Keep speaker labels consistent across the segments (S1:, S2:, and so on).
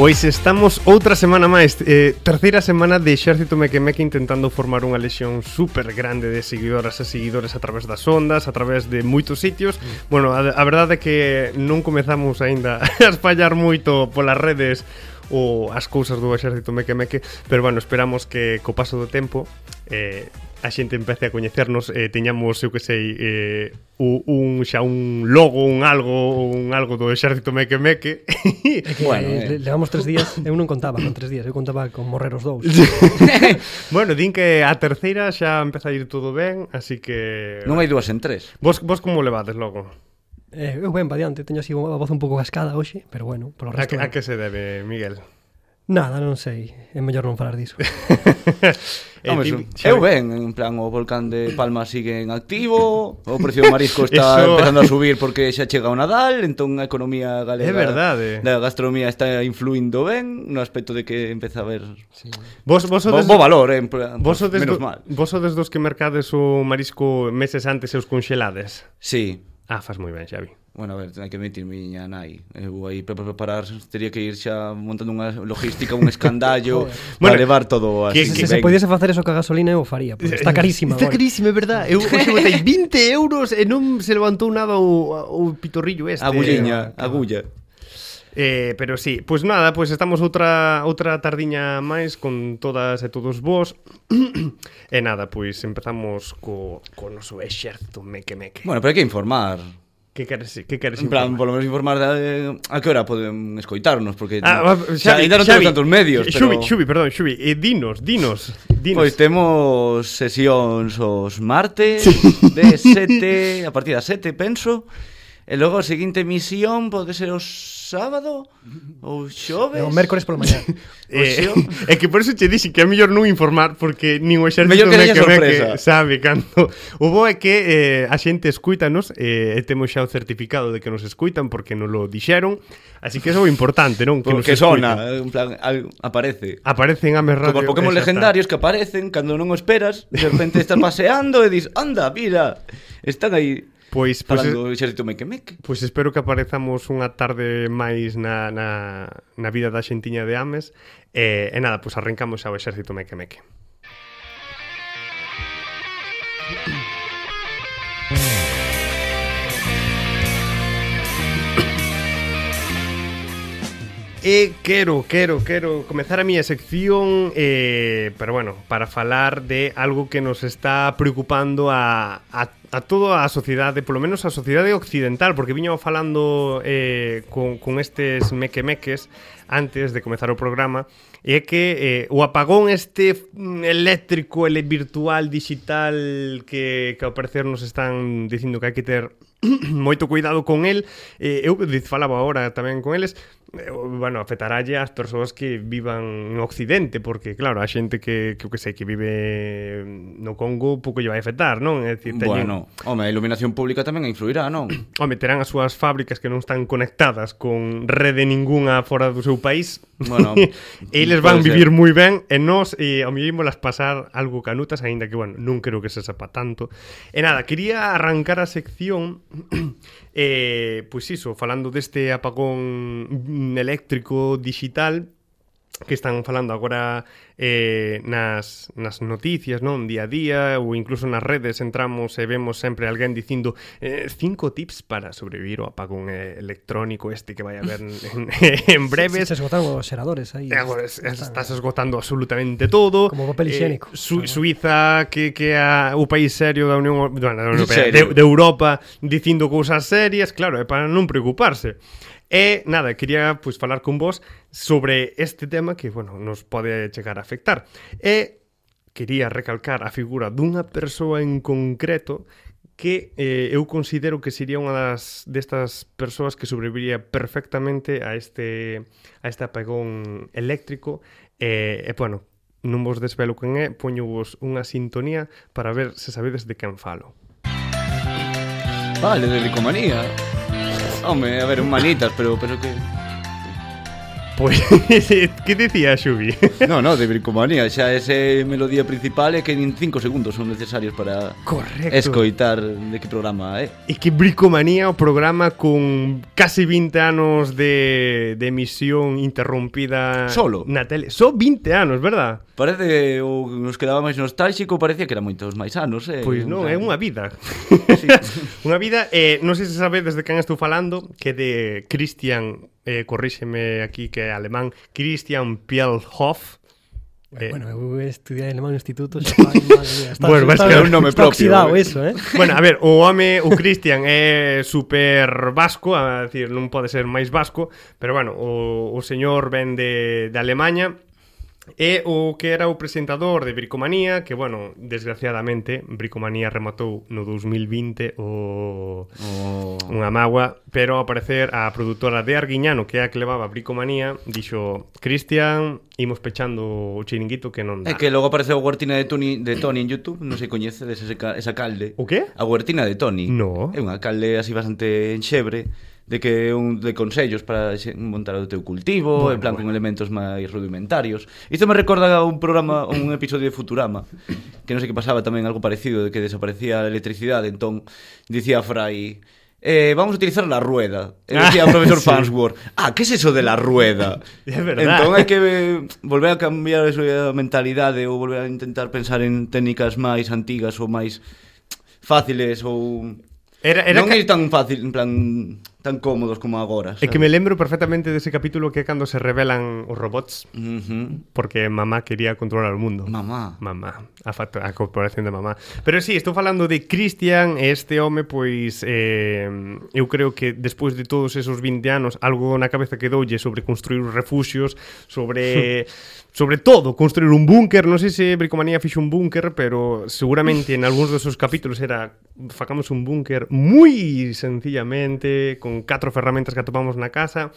S1: Pois estamos outra semana máis, eh, terceira semana de Exército Mequemeque intentando formar unha lexión super grande de seguidoras e seguidores a través das ondas, a través de moitos sitios. Bueno, a, a verdade é que non comezamos aínda a espallar moito polas redes o as cousas do Exército Mequemeque, pero bueno, esperamos que co paso do tempo eh, a xente empece a coñecernos e eh, teñamos, eu que sei, eh, u- un xa un logo, un algo, un algo do Exército Mequemeque. E
S2: Bueno,
S3: Bueno,
S2: eh, le-
S3: eh.
S2: levamos tres días, eu non contaba con tres días, eu contaba con morrer os dous.
S1: Bueno, din que a terceira xa empeza a ir todo ben, así que...
S3: Non hai dúas en tres.
S1: Vos, vos como levades logo?
S2: Eh, eu ben pa diante, teño así unha voz un pouco cascada hoxe, pero bueno, polo
S1: A que,
S2: resto.
S1: a
S2: ben.
S1: que se debe, Miguel?
S2: Nada, non sei, é mellor non falar diso.
S1: Eh,
S3: Home,
S1: ti-
S3: su-
S1: Xavi-
S3: eu ben, en plan, o volcán de Palma sigue en activo, o precio do marisco está
S1: Eso-
S3: Eso... empezando a subir porque xa chega o Nadal, entón a economía galega
S1: É verdade.
S3: da gastronomía está influindo ben, no aspecto de que empeza a haber sí.
S1: Vos, vos
S3: bo,
S1: sodes...
S3: bo valor, eh, en plan,
S1: Vos
S3: vos
S1: sodes,
S3: menos
S1: do,
S3: mal.
S1: vos sodes dos que mercades o marisco meses antes e os conxelades.
S3: Sí,
S1: Ah, fas moi ben, Xavi.
S3: Bueno, a ver, hai que mentir miña nai Eu aí para preparar Tería que ir xa montando unha logística Un escandallo Para
S1: Bueno,
S3: levar todo así
S1: que-
S3: que,
S2: Se se
S3: ben.
S2: pudiese facer eso que a gasolina eu o faría, porque está carísima
S1: Está
S2: agora.
S1: carísima, é verdad. Eu hoxe botei 20 euros e non se levantou nada o, o pitorrillo este.
S3: Agulliña, agulla
S1: Eh, pero sí, pois nada, pois estamos outra outra tardiña máis con todas e todos vos. e nada, pois empezamos co co noso exército meque meque.
S3: Bueno, pero hai que informar
S1: que queres, que queres
S3: En plan,
S1: informar?
S3: polo menos informar da, a que hora poden escoitarnos Porque
S1: Ah,
S3: xa,
S1: Xavi,
S3: ainda non
S1: Xavi,
S3: temos tantos medios
S1: Xubi,
S3: pero...
S1: Xubi, perdón, Xubi, eh, dinos, dinos, dinos.
S3: Pois temos sesións os martes de 7 a partir das 7, penso. E logo a seguinte emisión pode ser o sábado ou xoves.
S2: É o mércores pola mañá.
S1: Eh,
S3: Pois
S1: é que por eso che dixen que é mellor non informar porque nin o exército
S3: Mellor
S1: meque
S3: que haya
S1: meque
S3: sorpresa.
S1: sabe cando. O bo é que eh, a xente escuítanos eh, e temos xa o certificado de que nos escuitan porque nos lo dixeron. Así que eso é o importante, non?
S3: Que,
S1: nos
S3: que
S1: escuitan.
S3: sona, en plan, algo, aparece.
S1: Aparecen a Radio.
S3: ah, eh. Como os Pokémon
S1: esa
S3: legendarios que aparecen cando non o esperas, de repente estás paseando e dis, anda, mira, están aí
S1: tal. Pois, pois,
S3: falando do xerito meque meque.
S1: pois espero que aparezamos unha tarde máis na, na, na vida da xentiña de Ames. E, e nada, pois arrancamos ao exército meque meque. E quero, quero, quero comezar a miña sección eh, Pero bueno, para falar de algo que nos está preocupando a, a, a toda a sociedade Polo menos a sociedade occidental Porque viñamos falando eh, con, con estes mequemeques Antes de comezar o programa E é que eh, o apagón este mm, eléctrico, ele virtual, digital Que, que ao parecer nos están dicindo que hai que ter moito cuidado con el eh, eu diz- falaba ahora tamén con eles eh, bueno, afetaralle as persoas que vivan no occidente porque claro, a xente que, que, eu que sei que vive no Congo pouco lle vai afetar, non? É dicir, teñen-
S3: Bueno, home, a iluminación pública tamén influirá, non?
S1: Home, terán as súas fábricas que non están conectadas con rede ningunha fora do seu país
S3: Bueno,
S1: Eles van
S3: pode ser.
S1: vivir moi ben e nós eh, ao mellor las pasar algo canutas, aínda que, bueno, non creo que se sepa tanto. E nada, quería arrancar a sección eh, pois iso, falando deste apagón mm, eléctrico digital que están falando agora eh, nas, nas noticias, non? Día a día ou incluso nas redes entramos e vemos sempre alguén dicindo eh, cinco tips para sobrevivir ao apagón eh, electrónico este que vai haber en, en, en breves.
S2: Se, se esgotaron os xeradores
S1: E
S2: aí.
S1: Eh, agora es- es- estás esgotando absolutamente todo. Eh,
S2: Como papel higiénico.
S1: Su- Suiza, que, que é o país serio da Unión, Eu- bueno, da Unión Europea, de,
S3: Serio.
S1: de Europa, dicindo cousas serias, claro, é para non preocuparse. E, nada, quería pois, falar con vos sobre este tema que, bueno, nos pode chegar a afectar. E quería recalcar a figura dunha persoa en concreto que eh, eu considero que sería unha das destas persoas que sobreviviría perfectamente a este a este apagón eléctrico e, e bueno, non vos desvelo quen é, poño vos unha sintonía para ver se sabedes de quen falo.
S3: Vale, de licomanía. Home, a ver, un manitas, pero, pero que...
S1: Pois, que dicía Xubi?
S3: No, no, de bricomanía, xa ese melodía principal é que nin 5 segundos son necesarios para
S1: Correcto.
S3: escoitar de que programa é.
S1: E que Bricomanía, o programa con casi 20 anos de, de emisión interrumpida
S3: Solo.
S1: na tele. Só 20 anos, verdad?
S3: Parece o que nos quedaba máis nostálxico, parecía que era moitos máis anos, eh.
S1: Pois non, é unha vida.
S3: Sí.
S1: unha vida, eh, non sei se sabe desde quen estou falando, que de Christian, eh, corríxeme aquí que é alemán, Christian Pielhoff. Eh,
S2: Bueno, eu estudiei alemán no instituto, xa, madre mía, está,
S1: Bueno, vas
S2: está,
S1: que é un
S3: nome
S2: está
S3: propio,
S2: oxidado
S3: eh.
S2: eso, eh?
S1: Bueno, a ver, o home, o Cristian é super vasco, a decir, non pode ser máis vasco, pero bueno, o, o señor ven de, de Alemanha e o que era o presentador de Bricomanía, que bueno, desgraciadamente Bricomanía rematou no 2020 o
S3: O...
S1: unha magua, pero ao parecer a produtora de Arguiñano, que é a que levaba Bricomanía, dixo, Cristian, imos pechando o chiringuito que non
S3: É
S1: dá.
S3: que logo apareceu a huertina de Tony, de Tony en YouTube, non sei coñece dese ca- esa calde.
S1: O qué?
S3: A huertina de Tony.
S1: No.
S3: É unha calde así bastante enxebre de que é un de consellos para xe- montar o teu
S1: Bueno,
S3: cultivo, bueno, en plan
S1: bueno.
S3: bueno. con elementos máis rudimentarios. Isto me recorda a un programa, a un episodio de Futurama, que non sei que pasaba tamén algo parecido, de que desaparecía a electricidade, entón dicía Fry, eh, vamos a utilizar la rueda. E decía o profesor
S1: Sí.
S3: Farnsworth, ah, que é es eso de la rueda?
S1: É verdad.
S3: Entón hai que eh, volver a cambiar a súa mentalidade ou volver a intentar pensar en técnicas máis antigas ou máis fáciles ou
S1: Era, era
S3: non
S1: ca-
S3: é tan fácil, en plan tan cómodos como agora.
S1: É que me lembro perfectamente dese capítulo que é cando se revelan os robots
S3: Uh
S1: porque mamá quería controlar o mundo.
S3: Mamá.
S1: Mamá, a, fact- a corporación de mamá. Pero sí, estou falando de Christian, e este home, pois, eh, eu creo que despois de todos esos 20 anos, algo na cabeza que doulle sobre construir refuxios, sobre... sobre todo, construir un búnker, non sei se Bricomanía fixo un búnker, pero seguramente en algúns dos seus capítulos era facamos un búnker moi sencillamente, con catro ferramentas que atopamos na casa,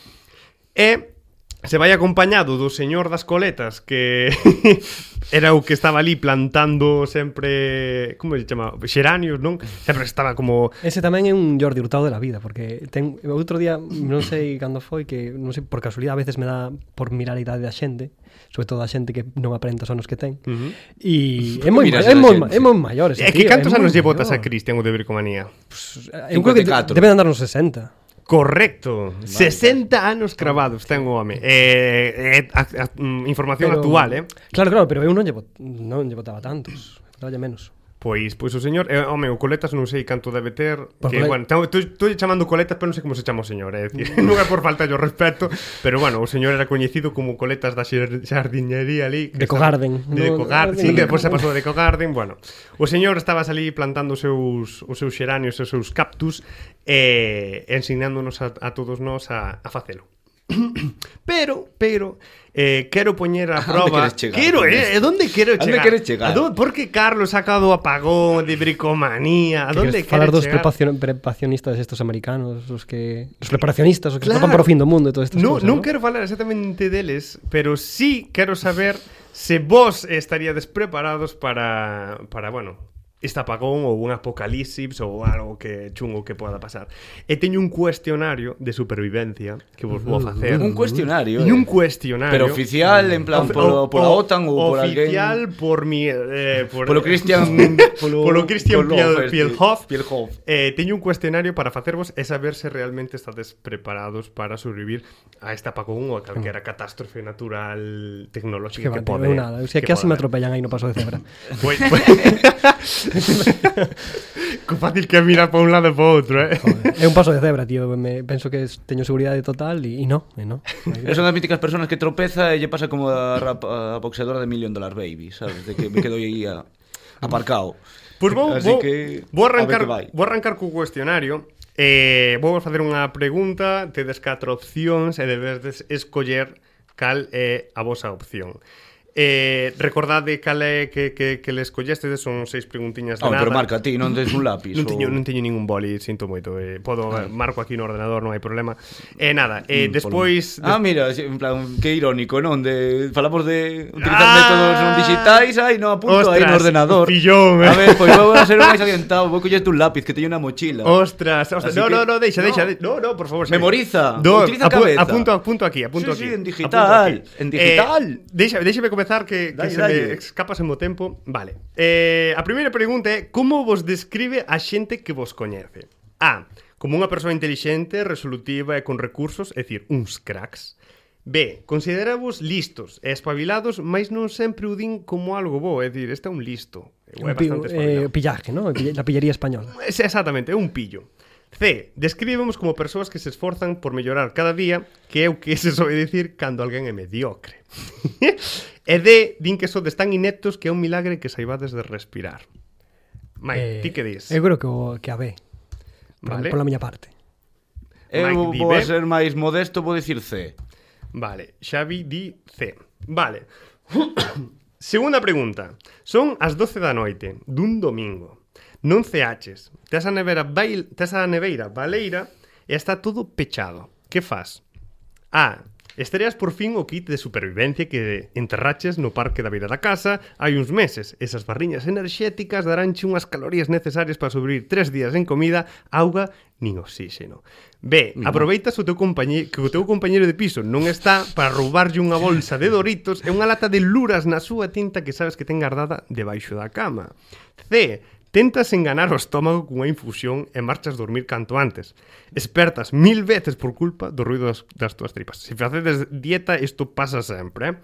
S1: E se vai acompañado do señor das coletas que era o que estaba ali plantando sempre, como se chama, xeranios, non? Sempre estaba como
S2: Ese tamén é un Jordi Hurtado de la vida, porque ten outro día, non sei cando foi, que non sei, por casualidade a veces me dá por mirar a idade da xente, sobre todo a xente que non aprende os anos que ten.
S1: Ujú.
S2: E é
S3: Que
S2: moi
S3: miras
S2: ma- é
S3: a
S2: moi
S3: xente?
S2: ma- é moi maior ese
S1: É que
S2: Pues tío,
S1: cantos
S2: moi
S1: anos lle botas a
S2: maior.
S1: Cristian o de Bricomanía?
S2: Eu creo que
S3: 54.
S2: deben andar nos 60.
S1: Correcto, 60 anos cravados ten o home eh, eh, a, a, mm, Información
S2: Pero-
S1: actual, eh?
S2: Claro, claro, pero eu non lle, bot, non lle botaba tantos. Botaballe menos.
S1: Pois, pois o señor, eh, home, o Coletas non sei canto debe ter,
S2: Por
S1: que,
S2: Cole-
S1: bueno, tamo- estou estou chamando Coletas, pero non sei como se chama o señor, é dicir, non é por falta de respeto, pero bueno, o señor era coñecido como Coletas da xer- xardiñería ali, que
S2: De
S1: estaba-
S2: Cogarden,
S1: de
S2: non?
S1: Cogarden,
S2: Alguén
S1: sí,
S2: de
S1: que depois se
S2: Cogarden.
S1: pasou de Cogarden, bueno. O señor estaba ali plantando os seus os seus xeranios, os seus cactus e eh, ensinándonos a, a todos nós a, a facelo. Pero, pero, eh, quero poñer a
S3: onde
S1: prova...
S3: queres chegar
S1: Quero,
S3: con
S1: eh, onde quero
S3: Onde
S1: chegar?
S3: queres chegar?
S1: A dónde- por que Carlos ha cado apagón de bricomanía? ¿A
S2: Que
S1: dónde
S2: queres falar
S1: quere
S2: dos
S1: chegar?
S2: preparacion- preparacionistas estos americanos, os que os preparacionistas, os que
S1: Claro.
S2: se preparan para o fin do mundo e todas estas
S1: No,
S2: cousas,
S1: non quero falar exactamente deles, pero sí quero saber se vos estaríades preparados para, para bueno, este apagón ou un apocalipsis ou algo que chungo que poda pasar. E teño un cuestionario de supervivencia que vos vou a facer.
S3: Un cuestionario.
S1: E un
S3: eh.
S1: cuestionario.
S3: Pero oficial, en plan,
S1: Ofi- o-
S3: polo, pola
S1: o-
S3: OTAN ou por alguén...
S1: Oficial por mi... Eh, por,
S3: Polo Christian... Polo,
S1: Polo Christian Piel-
S3: este,
S1: Pielhoff.
S3: Pielhoff.
S1: Eh, teño un cuestionario para facervos e saber se realmente estades preparados para sobrevivir a esta apagón ou a calquera catástrofe natural
S2: Que,
S1: tecnolóxica
S2: Mm. que
S1: que, pode.
S2: pode, eu nada, o sea, que casi me atropellan aí no paso de cebra.
S1: Pois, pois... Co pues- fácil que é mirar para un lado e para outro, eh?
S2: é un paso de cebra, tío, me penso que es- teño seguridade total e e no, e no.
S3: Es unha das míticas personas que tropeza e lle pasa como a, rap, a boxeadora de Million Dollar Baby, sabes? De que me quedo aí a, aparcado.
S1: Pois vou,
S3: Así
S1: vou,
S3: que,
S1: vou
S3: a ver
S1: arrancar
S3: que vai.
S1: vou arrancar co cuestionario eh, vou facer unha pregunta tedes catro opcións e debes escoller cal é a vosa opción Eh, recordade cale que, que, que les colleste son seis preguntiñas de
S3: Ah,
S1: nada.
S3: pero marca ti, non tens un lápis.
S1: Non teño,
S3: ou-
S1: non teño ningún boli, sinto moito. Eh, podo eh, marco aquí no ordenador, non hai problema. E eh, nada, eh,
S3: Ah. Mm,
S1: despois
S3: polo-
S1: des-
S3: Ah, mira, en plan, que irónico, non? De, falamos de utilizar
S1: Ah!
S3: métodos non digitais, ai, non apunto aí no
S1: Ostras,
S3: ordenador.
S1: pillou, eh.
S3: a ver, pois vou a ser o máis adiantado, vou collerte un lápiz que teño na mochila.
S1: Ostras, ostras,
S3: Así
S1: no,
S3: que-
S1: no, no, deixa,
S3: no.
S1: deixa, de- no, no, por favor. sí.
S3: Memoriza,
S1: Do,
S3: utiliza a
S1: apu-
S3: cabeza.
S1: Apunto, apunto aquí, apunto
S3: Sí,
S1: aquí.
S3: sí, en digital,
S1: apunto aquí.
S3: en digital.
S1: Eh, deixa, déxame comezar que, que
S3: Dalle,
S1: se
S3: dalle.
S1: me escapas en meu tempo. Vale. Eh, a primeira pregunta é como vos describe a xente que vos coñece? A. Como unha persoa intelixente, resolutiva e con recursos, é dicir, uns cracks. B. Consideravos listos e espabilados, mas non sempre o din como algo bo, é dicir, este é un listo. Eu é
S2: Un pi-
S1: bastante espabilado.
S2: eh, pillaje, ¿no? Pill- La pillería española.
S1: Es- exactamente, é un pillo. C. Describemos como persoas que se esforzan por mellorar cada día, que é o que se sobe dicir cando alguén é mediocre. e D. Din que sodes tan ineptos que é un milagre que saibades de respirar. Mike,
S2: Eh,
S1: ti que dis?
S2: Eu creo que, o- que a B. Por,
S1: Vale.
S2: por la miña parte.
S1: Mike
S3: Eu
S1: di
S3: vou Eh, a
S1: B.
S3: ser máis modesto, vou dicir C.
S1: Vale, Xavi di C. Vale. Segunda pregunta. Son as 12 da noite dun domingo. Non ceaches. Tes a nevera bail, tes a neveira baleira e está todo pechado. Que fas? A. Estreas por fin o kit de supervivencia que enterraches no parque da beira da casa hai uns meses. Esas barriñas enerxéticas daránche unhas calorías necesarias para sobrevivir tres días en comida, auga nin oxíxeno. B. Aproveitas o teu compañeiro, que o teu compañeiro de piso non está para roubarlle unha bolsa de doritos e unha lata de luras na súa tinta que sabes que ten guardada debaixo da cama. C. Tentas enganar o estómago cunha infusión e marchas dormir canto antes. Espertas mil veces por culpa do ruido das, das túas tripas. Se facedes dieta, isto pasa sempre.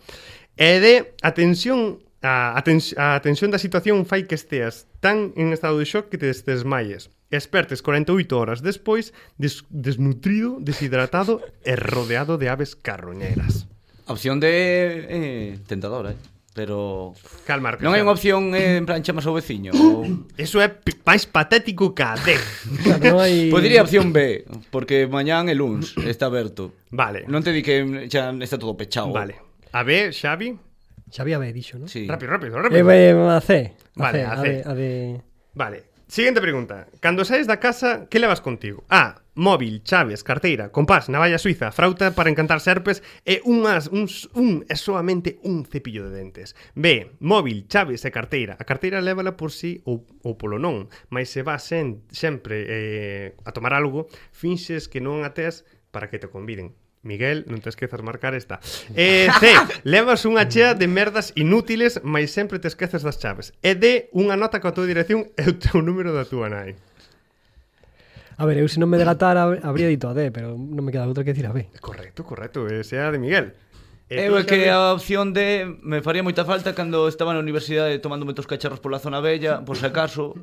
S1: Eh? E de atención A, a, tens, a tensión da situación fai que esteas tan en estado de shock que te des- desmaies. Espertes 48 horas despois, des, desnutrido, deshidratado e rodeado de aves carroñeras.
S3: A opción de eh, tentadora, eh? pero
S1: Calma,
S3: non
S1: Arcachano.
S3: hai unha opción eh, en plan chamas ao veciño. Ou...
S1: Eso é pi- máis patético que a D.
S2: Claro, no hay...
S3: Pois diría opción B, porque mañán é luns, está aberto.
S1: Vale.
S3: Non te di que xa está todo pechado.
S1: Vale. A B, Xavi.
S2: Ya había B dicho, ¿no?
S3: Sí.
S1: Rápido, rápido,
S2: Eh,
S1: rápido.
S2: B, a C. A
S1: Vale,
S2: C,
S1: a
S2: a,
S1: C.
S2: D, a D.
S1: Vale. Siguiente pregunta. Cando saes da casa, que levas contigo? A. Móvil, chaves, carteira, compás, navalla suiza, frauta para encantar serpes e unhas, uns, un e soamente un cepillo de dentes. B. Móvil, chaves e carteira. A carteira lévala por si sí ou, ou polo non, mas se vas sen, sempre eh, a tomar algo, finxes que non a tes para que te conviden. Miguel, non te esquezas marcar esta. Eh, C, levas unha chea de merdas inútiles, mais sempre te esqueces das chaves. E D, unha nota coa túa dirección e o teu número da túa nai.
S2: A ver, eu se non me delatara hab- habría dito a D, pero non me queda outra que decir a B.
S1: Correcto, correcto, eh, sea de Miguel. E
S3: Eu
S1: tú,
S3: é que
S1: Xavi?
S3: a opción de me faría moita falta cando estaba na universidade tomándome tos cacharros pola zona bella, por se acaso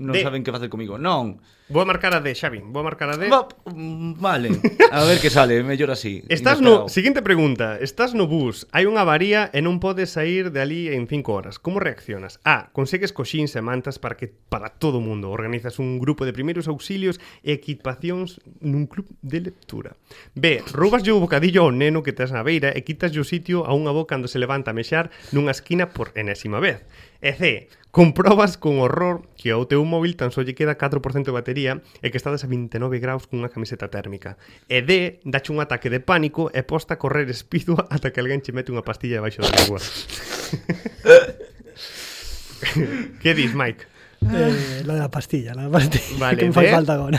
S3: non
S1: De-
S3: saben que facer comigo. Non.
S1: Vou a marcar a D, Xavi, vou a marcar a D.
S3: Va, mm, vale. A ver que sale, mellor así.
S1: Estás no,
S3: inesperado.
S1: siguiente pregunta, estás no bus, hai unha avaría e non podes sair de ali en 5 horas. Como reaccionas? A, consegues coxíns e mantas para que para todo o mundo. Organizas un grupo de primeiros auxilios e equipacións nun club de lectura. B, roubas o bocadillo ao neno que tes na beira e quitas o sitio a unha boca cando se levanta a mexar nunha esquina por enésima vez. E C, Comprobas con horror que ao teu móvil tan só lle queda 4% de batería e que estades a 29 graus cunha camiseta térmica. E D, dache un ataque de pánico e posta a correr espidua ata que alguén che mete unha pastilla debaixo da lengua. que dis, Mike?
S2: Eh, la de la pastilla, la de la pastilla.
S1: Vale,
S2: que me
S1: D.
S2: fai falta agora.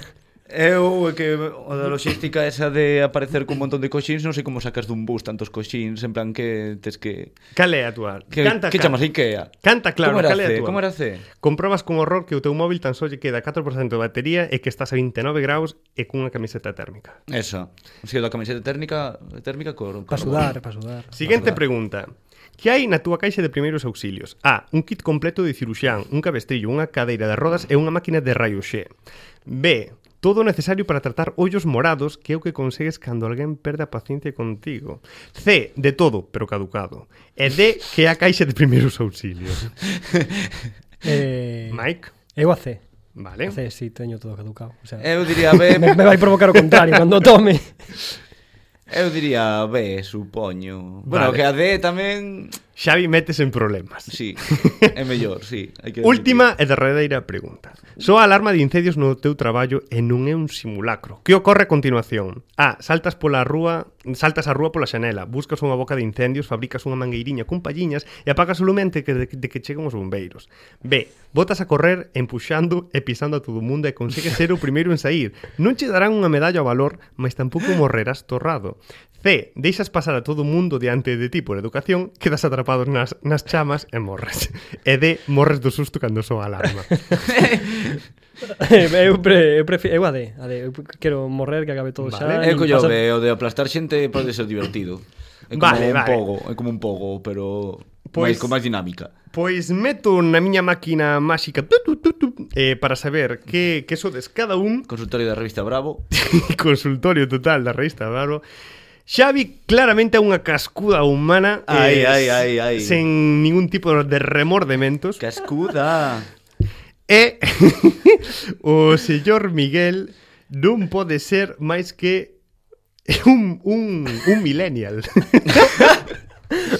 S3: Eu é que o da logística esa de aparecer cun montón de coxins, non sei como sacas dun bus tantos coxins, en plan que tes que
S1: Cal é a túa?
S3: que,
S1: Canta,
S3: que
S1: ca-
S3: chamas a Ikea.
S1: Canta claro,
S3: como era
S1: cal é a
S3: C?
S1: túa?
S3: Como era C?
S1: Comprobas con horror que o teu móvil tan só lle queda 4% de batería e que estás a 29 graus e cunha camiseta térmica.
S3: Esa. O sea, da camiseta térmica, térmica cor,
S2: Para sudar, para sudar.
S1: Siguiente
S3: Verdad.
S1: pregunta. Que hai na túa caixa de primeiros auxilios? A. Un kit completo de ciruxán, un cabestrillo, unha cadeira de rodas e unha máquina de raio X. B. Todo o necesario para tratar ollos morados que é o que consegues cando alguén perde a paciencia contigo. C. De todo, pero caducado. E D. Que é a caixa de primeiros auxilios.
S2: Eh,
S1: Mike,
S2: eu a C.
S1: vale.
S2: A C, si, sí, teño todo caducado. O sea,
S3: Eu diría B,
S2: me, me vai provocar o contrario cando tome.
S3: eu diría B, supoño.
S1: Vale.
S3: Bueno, que a D tamén
S1: Xavi metes en problemas.
S3: Sí, é mellor, sí. Hai que
S1: Última e derradeira pregunta. Soa a alarma de incendios no teu traballo e non é un simulacro. Que ocorre a continuación? A. Saltas pola rúa, saltas a rúa pola xanela, buscas unha boca de incendios, fabricas unha mangueiriña con palliñas e apagas o lume antes que de, de que cheguen os bombeiros. B. Botas a correr empuxando e pisando a todo o mundo e consegues ser o primeiro en sair. Non che darán unha medalla ao valor, mas tampouco morrerás torrado. C. Deixas pasar a todo o mundo diante de ti por educación, quedas atrapado nas, nas chamas e morres. E D. Morres do susto cando soa a alarma.
S2: eh, eu, pre, eu prefi- eu a de, a de, eu quero morrer que acabe todo
S1: Vale. eh,
S3: É
S2: xa. e
S3: collo,
S2: pasar-
S3: o de aplastar xente pode ser divertido. É como
S1: Vale,
S3: un
S1: vale.
S3: pogo, é como un pogo, pero
S1: Pois-
S3: máis con máis dinámica.
S1: Pois meto na miña máquina máxica tu, tu, tu, tu, eh, para saber que, que sodes cada un
S3: Consultorio da revista Bravo.
S1: consultorio total da revista Bravo. Xavi claramente é unha cascuda humana
S3: Ai, ai, ai, ai.
S1: sen ningún tipo de remordementos
S3: Cascuda.
S1: e o señor Miguel non pode ser máis que un, un, un millennial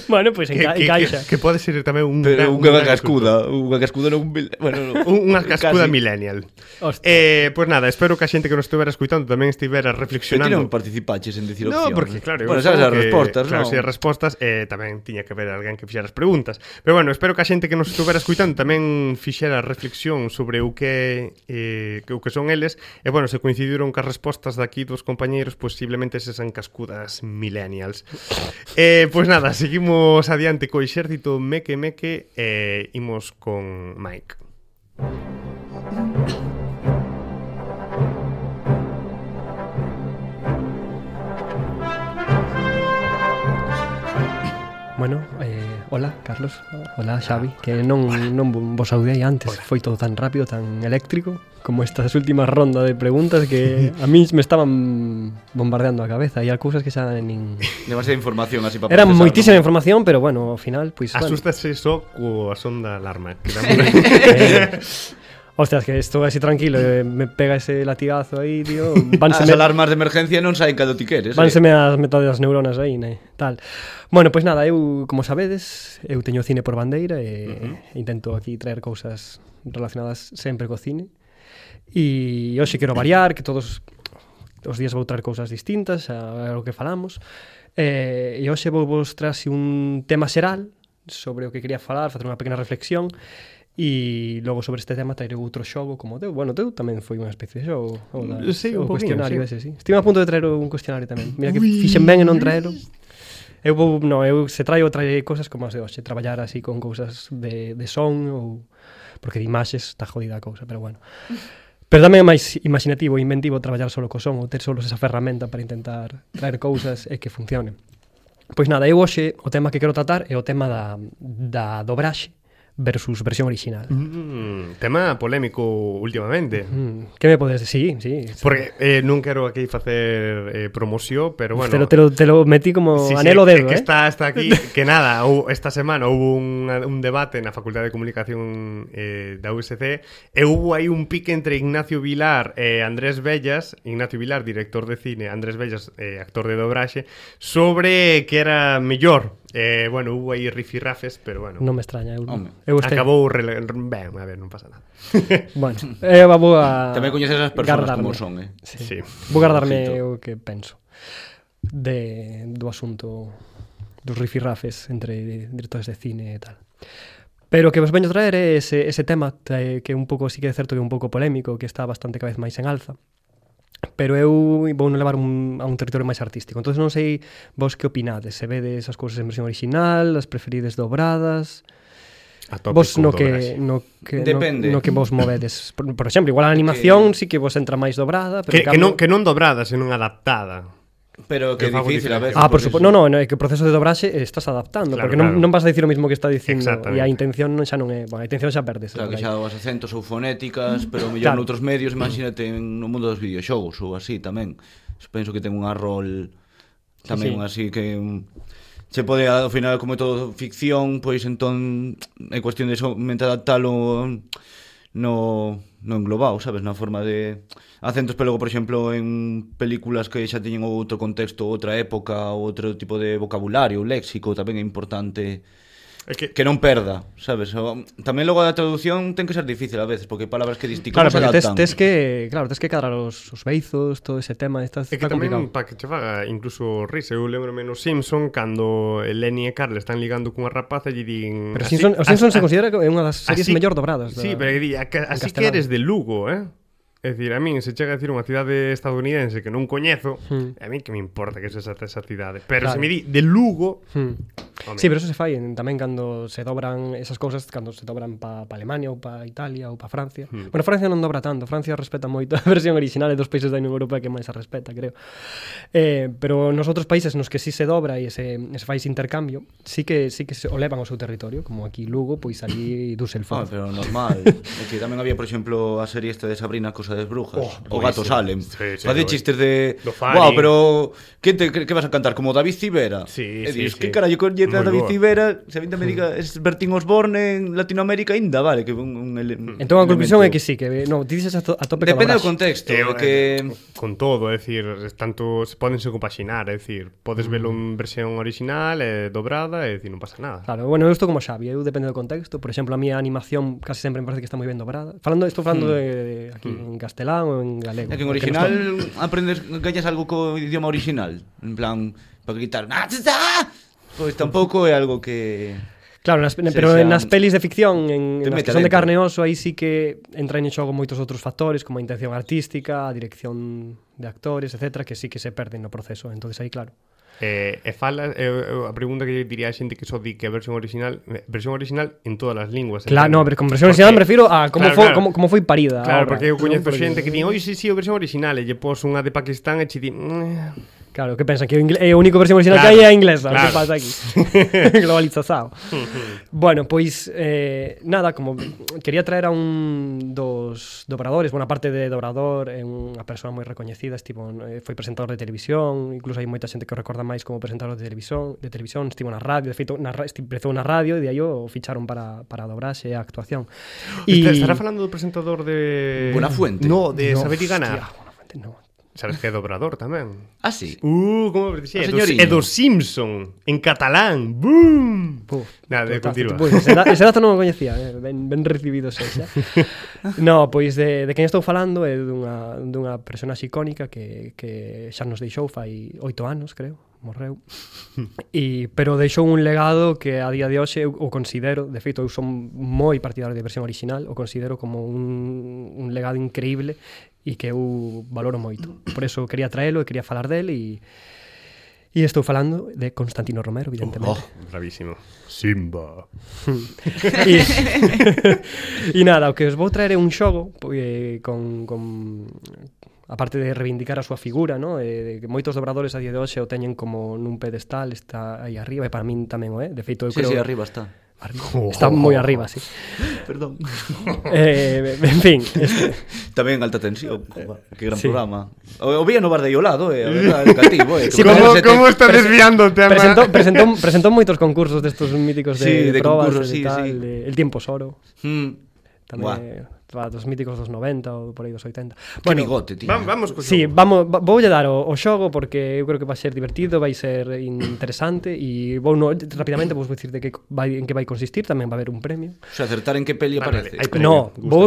S2: Bueno, pois
S1: que,
S2: enca
S1: que, que,
S2: encaixa.
S1: que pode ser tamén un gran-
S3: Pero
S1: un
S3: unha
S1: gran
S3: cascuda, unha cascuda non... Bueno,
S1: Un- Unha cascuda millennial.
S2: Hostia.
S1: Eh, pois nada, espero que a xente que nos estuvera escuitando tamén estivera
S3: Pero ti non
S1: reflexionando.
S3: participaches en dicir
S1: No,
S3: opción.
S1: porque claro,
S3: Bueno,
S1: eu
S3: sabes
S1: supoño
S3: as
S1: que,
S3: respostas,
S1: claro,
S3: non?
S1: si as respostas eh, tamén tiña que haber alguén que fixera as preguntas. Pero bueno, espero que a xente que nos estuvera escuitando tamén fixera reflexión sobre o que eh, que o que son eles. E bueno, se coincidiron cas respostas daqui dos compañeiros, posiblemente se san cascudas millennials. Eh, pois nada, seguimos adiante co exército Meque Meque e eh, imos con Mike.
S2: Bueno, eh, hola, Carlos. Hola, Xavi. Que non, non vos audei antes. Foi todo tan rápido, tan eléctrico, como estas últimas rondas de preguntas que a mí me estaban bombardeando a cabeza. E hai cousas que xa nin...
S3: Demasiada información así para
S2: Era
S3: procesar,
S2: moitísima información, pero bueno, ao final, pois... bueno.
S1: Asústase só coa sonda alarma. Que dá
S2: Eh, Ostras, que estou así tranquilo, eh, me pega ese latigazo aí,
S1: Ah,
S2: tío.
S3: Non? As
S2: Vánseme,
S3: Ah, alarmas de emergencia non saen cando ti queres. eh?
S2: vánseme as metade das neuronas aí, né? Tal. Bueno, pois nada, eu, como sabedes, eu teño cine por bandeira e uh -huh. intento aquí traer cousas relacionadas sempre co cine. E hoxe quero variar, que todos os días vou traer cousas distintas a, a o que falamos. Eh, e hoxe vou vos traer así un tema xeral sobre o que quería falar, facer unha pequena reflexión e logo sobre este tema traer outro xogo como o teu. Bueno, o teu tamén foi unha especie de xogo. O, da,
S1: Mm, Sí, un
S2: o
S1: poquinho,
S2: cuestionario
S1: sí.
S2: ese, sí. Estive a punto de traer un cuestionario tamén. Mira que fixen ben en non traelo. Eu vou, no, eu se traio trae cousas como as de hoxe, traballar así con cousas de, de son ou porque de imaxes está jodida a cousa, pero bueno. Pero tamén é máis imaginativo e inventivo traballar solo co son ou ter solo esa ferramenta para intentar traer cousas e que funcionen. Pois nada, eu hoxe o tema que quero tratar é o tema da, da dobraxe versus versión original.
S3: Mm-hmm.
S1: Mm, tema polémico últimamente.
S2: Mm, que me podes decir? Sí, sí.
S1: Porque eh, non quero aquí facer eh, promoción, pero bueno...
S2: te, lo, te, lo, te lo metí como
S1: Sí, sí,
S2: anelo
S1: é
S2: dedo,
S1: que
S2: eh?
S1: está, está aquí, que nada, ou, esta semana houve un, un debate na Facultade de Comunicación eh, da USC e houve aí un pique entre Ignacio Vilar e Andrés Bellas, Ignacio Vilar, director de cine, Andrés Bellas, eh, actor de dobraxe, sobre que era mellor. Eh, bueno, houve aí rifirrafes, pero bueno,
S2: Non me extraña, eu,
S3: Home,
S2: eu este-
S1: acabou... rele- Ben, a ver, non pasa nada.
S2: Bueno, eu vou a
S3: Tamén coñeces as persoas
S2: guardarme.
S3: como son, eh.
S1: Sí.
S2: Sí. Vou guardarme
S3: Ojito.
S2: o que penso de do asunto dos rifirrafes entre directores de cine e tal. Pero o que vos veño traer é ese, ese tema eh, que un pouco sí que é certo que é un pouco polémico, que está bastante cada vez máis en alza. Pero eu vou non levar un, a un territorio máis artístico. Entón non sei vos que opinades, se vedes as cousas en versión original, as preferides dobradas,
S1: A tope
S2: vos
S1: con
S2: no que,
S1: dobraxe.
S2: no que no-
S3: Depende.
S2: no, que vos movedes. Por, por exemplo, igual a animación sí que vos entra máis dobrada, pero
S1: Que,
S2: en
S1: que, non,
S2: cambio-
S1: que non dobrada, senón adaptada.
S3: Pero que
S1: Eu fago
S3: difícil a veces.
S2: Ah, por
S3: porque
S2: suposto. No, no, no, é que o proceso de dobraxe eh, estás adaptando,
S1: Claro,
S2: porque non,
S1: claro.
S2: non vas a dicir o mismo que está dicindo
S1: Exactamente.
S2: e a intención non xa non é, bueno, a intención xa perdes.
S3: Claro,
S2: por
S3: que
S2: aí.
S3: xa os acentos ou fonéticas, pero mellor
S2: Claro.
S3: noutros medios, imagínate en- no mundo dos videoxogos ou así tamén. Yo Penso que ten unha rol tamén
S2: Sí, sí.
S3: así que mm, se pode ao final como é todo ficción, pois entón é cuestión de somente adaptalo no no englobado, sabes, na forma de acentos, pero logo, por exemplo, en películas que xa teñen outro contexto, outra época, outro tipo de vocabulario, léxico, tamén é importante
S1: É que-
S3: que non perda, sabes? O, tamén logo a traducción ten que ser difícil a veces, porque palabras que distintas se
S2: Claro, porque tes,
S3: adaptan.
S2: tes que, claro, tes que cadrar os, os beizos, todo ese tema, está,
S1: É
S2: está
S1: que tamén
S2: complicado.
S1: para que che faga incluso risa, eu lembro menos Simpson cando Lenny e Carl están ligando cunha rapaza e lle din
S2: Pero
S1: "Así-
S2: Simpson, os
S1: así-
S2: Simpson se considera que é unha das series
S1: así-
S2: mellor dobradas.
S1: Sí,
S2: da-
S1: pero que di, "A que- así que
S2: castelán".
S1: eres de Lugo, eh? É dicir, a min se chega a decir unha cidade estadounidense que non coñezo,
S2: Hmm.
S1: a min que me importa que sexa esa cidade. Pero se
S2: Claro.
S1: me di de Lugo,
S2: Hmm.
S1: home,
S2: Sí, pero eso se fai en- tamén cando se dobran esas cousas, cando se dobran pa, pa Alemania ou pa Italia ou pa Francia. Hmm. Bueno, Francia non dobra tanto, Francia respeta moito a versión original e dos países da Unión Europea que máis a respeta, creo. Eh, pero nos outros países nos que sí se dobra e se, e se fai ese intercambio, sí que sí que se o levan ao seu territorio, como aquí Lugo, pois ali
S3: Ah,
S2: Düsseldorf.
S3: pero normal. é que tamén había, por exemplo, a serie esta de Sabrina Cosa das Brujas,
S1: Oh,
S3: o
S1: buenísimo.
S3: Gato Salem.
S1: Sí, sí,
S3: Face
S1: lo-
S3: chistes de
S1: lo Fari.
S3: Wow, pero que te que vas a cantar como David Civera.
S1: Sí,
S3: e
S1: sí,
S3: dices,
S1: sí.
S3: que carallo coñece a
S1: Moi
S3: David
S1: boa.
S3: Civera, se a mí tamén diga es Bertín Osborne en Latinoamérica ainda, vale, que un, un ele- un
S2: Entón a conclusión é
S3: elemento.
S2: que sí, que no, ti dices a, to, a tope
S3: Depende do
S2: con a brasa.
S3: contexto,
S1: Eh,
S3: é que
S1: con todo, é dicir, tanto se poden se compaxinar, é dicir, podes
S2: Mm.
S1: velo en versión original, eh, dobrada, é dicir, non pasa nada.
S2: Claro, bueno, eu estou como Xavi, eu depende do contexto. Por exemplo, a mía animación casi sempre me parece que está moi ben dobrada. Falando, estou falando de, de aquí en castelán ou en
S3: Hmm.
S2: galego.
S3: É que en
S2: porque non
S3: original aprendes gallas algo co idioma original, en plan para gritar, "Ah, tza, tza", pois tampouco é algo que
S2: Claro, nas,
S3: Se
S2: pero
S3: xa-
S2: nas pelis de ficción,
S3: Te
S2: en, en as
S3: mete
S2: que son de
S3: dentro.
S2: carne e oso, aí sí que entran en xogo moitos outros factores, como a intención artística, a dirección de actores, etcétera, que sí que se perden no proceso. entonces aí, claro.
S1: Eh, e fala, eh, a pregunta que lle diría a xente que só di que é versión original, eh, versión original en todas as linguas.
S2: Claro,
S1: entendo.
S2: no, pero con versión original me refiro a
S1: Claro,
S2: como, foi,
S1: claro.
S2: como, como foi parida. a
S1: Claro,
S2: obra,
S1: porque eu
S2: non?
S1: coñezo
S2: Porque-
S1: xente que di, oi, sí, sí, a versión original, e lle pos unha de Pakistán e che di... "Mm".
S2: Claro, que pensan que o ingle- é o único versión original
S1: Claro,
S2: que hai é a inglesa, claro. que
S1: claro.
S2: pasa aquí. Globalizado. bueno, pois eh, nada, como quería traer a un dos dobradores, bueno, aparte de dobrador, é unha persoa moi recoñecida, estivo eh, foi presentador de televisión, incluso hai moita xente que o recorda máis como presentador de televisión, de televisión, estivo na radio, de feito, na, ra- esti- empezou na radio e de aí o ficharon para para a dobraxe e a actuación.
S1: Y... Estará falando do presentador de...
S3: Buenafuente.
S1: No, de
S2: No,
S1: Saber y Ganar.
S2: hostia, Buenafuente, no.
S1: Sabes que é dobrador tamén.
S3: así.
S1: Uh, como me
S3: A
S2: Ah,
S1: dixía, é, do,
S3: señoriña.
S1: é do Simpson, en catalán. Boom!
S2: Puf,
S1: Nada,
S2: total,
S1: continúa.
S2: Pois, ese, da- ese dato non o coñecía, eh? ben, ben recibido sei xa. no, pois de, de quen estou falando é dunha, dunha personaxe icónica que, que xa nos deixou fai oito anos, creo, morreu. E, pero deixou un legado que a día de hoxe eu o considero, de feito eu son moi partidario de versión original, o considero como un, un legado increíble e que eu valoro moito. Por eso quería traelo e quería falar del e E estou falando de Constantino Romero, evidentemente.
S1: Oh, bravísimo. Simba.
S2: E- E nada, o que os vou traer é un xogo po- eh, con, con aparte de reivindicar a súa figura, no? eh, de que moitos dobradores a día de hoxe o teñen como nun pedestal, está aí arriba, e para min tamén o é, de feito eu
S3: Sí,
S2: creo...
S3: sí, arriba está.
S2: Arriba. Está moi arriba, sí.
S3: Perdón.
S2: eh, en fin, este,
S3: Tamén alta tensión. joder, Que gran
S2: Sí.
S3: programa. O, o vía no bar de Iolado, eh, a verdade, el cativo, eh.
S2: Sí,
S3: que
S1: ¿Cómo,
S2: pero-
S3: parece-
S1: cómo está desviando o tema?
S2: presentou, presentou, presentou moitos concursos destos míticos de,
S3: Sí,
S2: de,
S3: de
S2: probas,
S3: concursos,
S2: e
S3: sí,
S2: tal,
S3: sí.
S2: de, El tiempo es oro,
S3: Mm.
S2: tamén,
S3: Buah,
S2: eh, para dos míticos dos 90 ou por aí dos 80.
S3: que bigote, tío.
S1: Vamos, vamos co
S2: Sí,
S1: xogo.
S2: vamos, va- voulle dar o, o xogo porque eu creo que vai ser divertido, vai ser interesante e vou no, rapidamente vou dicir de que vai, en que vai consistir, tamén vai haber un premio.
S3: O sea, acertar en que peli
S1: Vale,
S3: aparece.
S1: vale, Premio,
S2: No,
S1: gústame.
S2: vou,